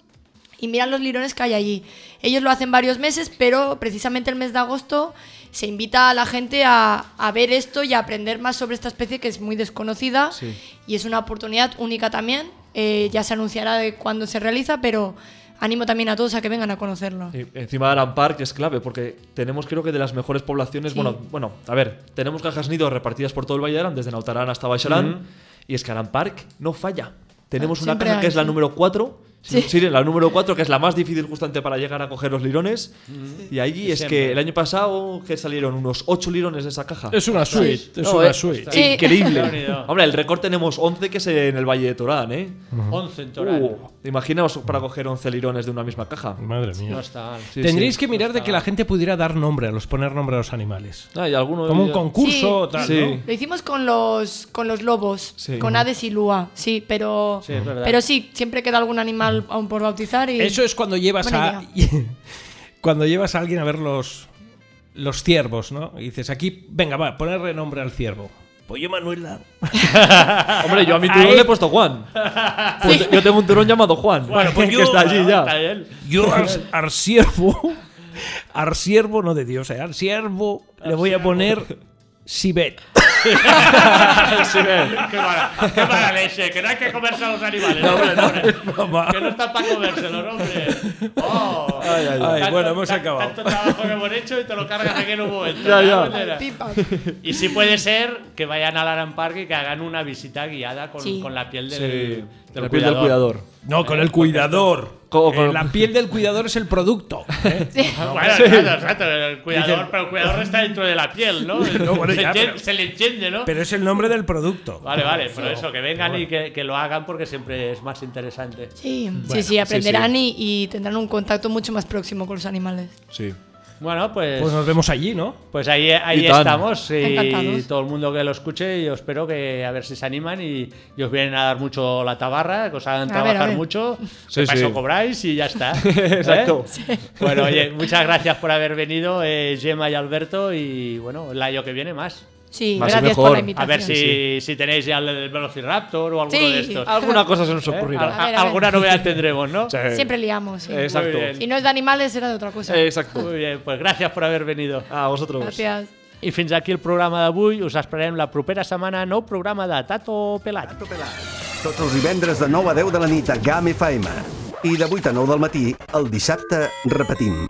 y miran los lirones que hay allí. Ellos lo hacen varios meses, pero precisamente el mes de agosto se invita a la gente a, a ver esto y a aprender más sobre esta especie que es muy desconocida Sí. y es una oportunidad única también. Eh, ya se anunciará de cuándo se realiza, pero animo también a todos a que vengan a conocerlo. Y encima de Aran Park es clave porque tenemos creo que de las mejores poblaciones, Sí. bueno, bueno, a ver, tenemos cajas nido repartidas por todo el Valle de Arán, desde Nautarán hasta Baixarán, y es que Aran Park no falla. Tenemos Ah, una siempre caja que hay, es la sí. número 4, Sí. la número 4 que es la más difícil justamente para llegar a coger los lirones, y allí es que el año pasado que salieron unos 8 lirones de esa caja. Es una suite, es No, una eh, suite. Sí. Increíble. Bienvenido. Hombre, el récord tenemos 11 que es en el Valle de Torán, ¿eh? 11 en total. Uh, imaginaos para coger 11 lirones de una misma caja. Madre mía. No está mal. Sí, Tendríais sí. que mirar de que la gente pudiera dar nombre a los, poner nombre a los animales. Ah, y alguno Como un ya- Sí. concurso o tal, Sí. ¿no? Lo hicimos con los, con los lobos, Sí. con Hades y Lua, sí, pero Sí, es verdad. pero sí, siempre queda algún animal aún por bautizar y Eso es cuando llevas Buena a. cuando llevas a alguien a ver los. Los ciervos, ¿no? Y dices, aquí, venga, va, ponerle nombre al ciervo. Pues yo, Manuela. Hombre, yo a mi turón Ahí. le he puesto Juan. Pues Yo tengo un turón llamado Juan. Bueno, pues que yo- está allí Está ya. bien. Yo, ar- arsiervo. Arsiervo, no de Dios, eh, arsiervo, le voy a poner. Sibet. Qué mala, qué mala leche, que no hay que comerse a los animales. No, hombre, no, hombre. es broma. Que no está para comérselos, hombre. Oh, ay, ay. Tanto- bueno, hemos ta- acabado. Tanto trabajo que hemos hecho y te lo cargas aquí en un momento. Ya, ¿no? ya. Manera. Pipa. Y si puede ser que vayan al Aran Park y que hagan una visita guiada con, Sí. con la piel del, Sí, del la piel del cuidador. No, con el cuidador. Co- con- Eh, la piel del cuidador es el producto. ¿eh? No, bueno, exacto, exacto, el cuidador, pero el cuidador está dentro de la piel, ¿no? No, bueno, se, ya, entiende- pero- se le entiende, ¿no? Pero es el nombre del producto. Vale, vale, pero eso, que vengan y que, que lo hagan porque siempre es más interesante. Sí, sí, sí, aprenderán Y, y tendrán un contacto mucho más próximo con los animales. Sí. Bueno, Pues nos vemos allí, ¿no? Pues ahí, ahí Y tan. estamos y Encantados. todo el mundo que lo escuche yo espero que a ver si se animan y, y os vienen a dar mucho la tabarra, que os hagan A ver, a trabajar ver. mucho, Sí, que para sí. eso cobráis y ya está. ¿eh? Exacto. Bueno, oye, muchas gracias por haber venido, eh, Gemma y Alberto, y bueno, el año que viene más. Sí, Más y gracias mejor. por la A A invitación. ver si, si tenéis ya el, el Velociraptor o alguno Sí. de estos. Ah, Alguna cosa se nos ¿Eh? ocurrirá. A ver, a ver. Alguna novedad tendremos, ¿no? Sí. Siempre liamos. sí. Exacto. Muy bien. Si no es de animales, era de otra cosa. Eh, Exacto. Muy bien, pues gracias por haber venido. A vosotros. Gracias. I fins aquí el programa d'avui. Us esperem la propera setmana, nou programa de Tato Pelat. Tots els divendres de 9 a 10 de la nit a GAM FM. I de 8 a 9 del matí, el dissabte, repetim.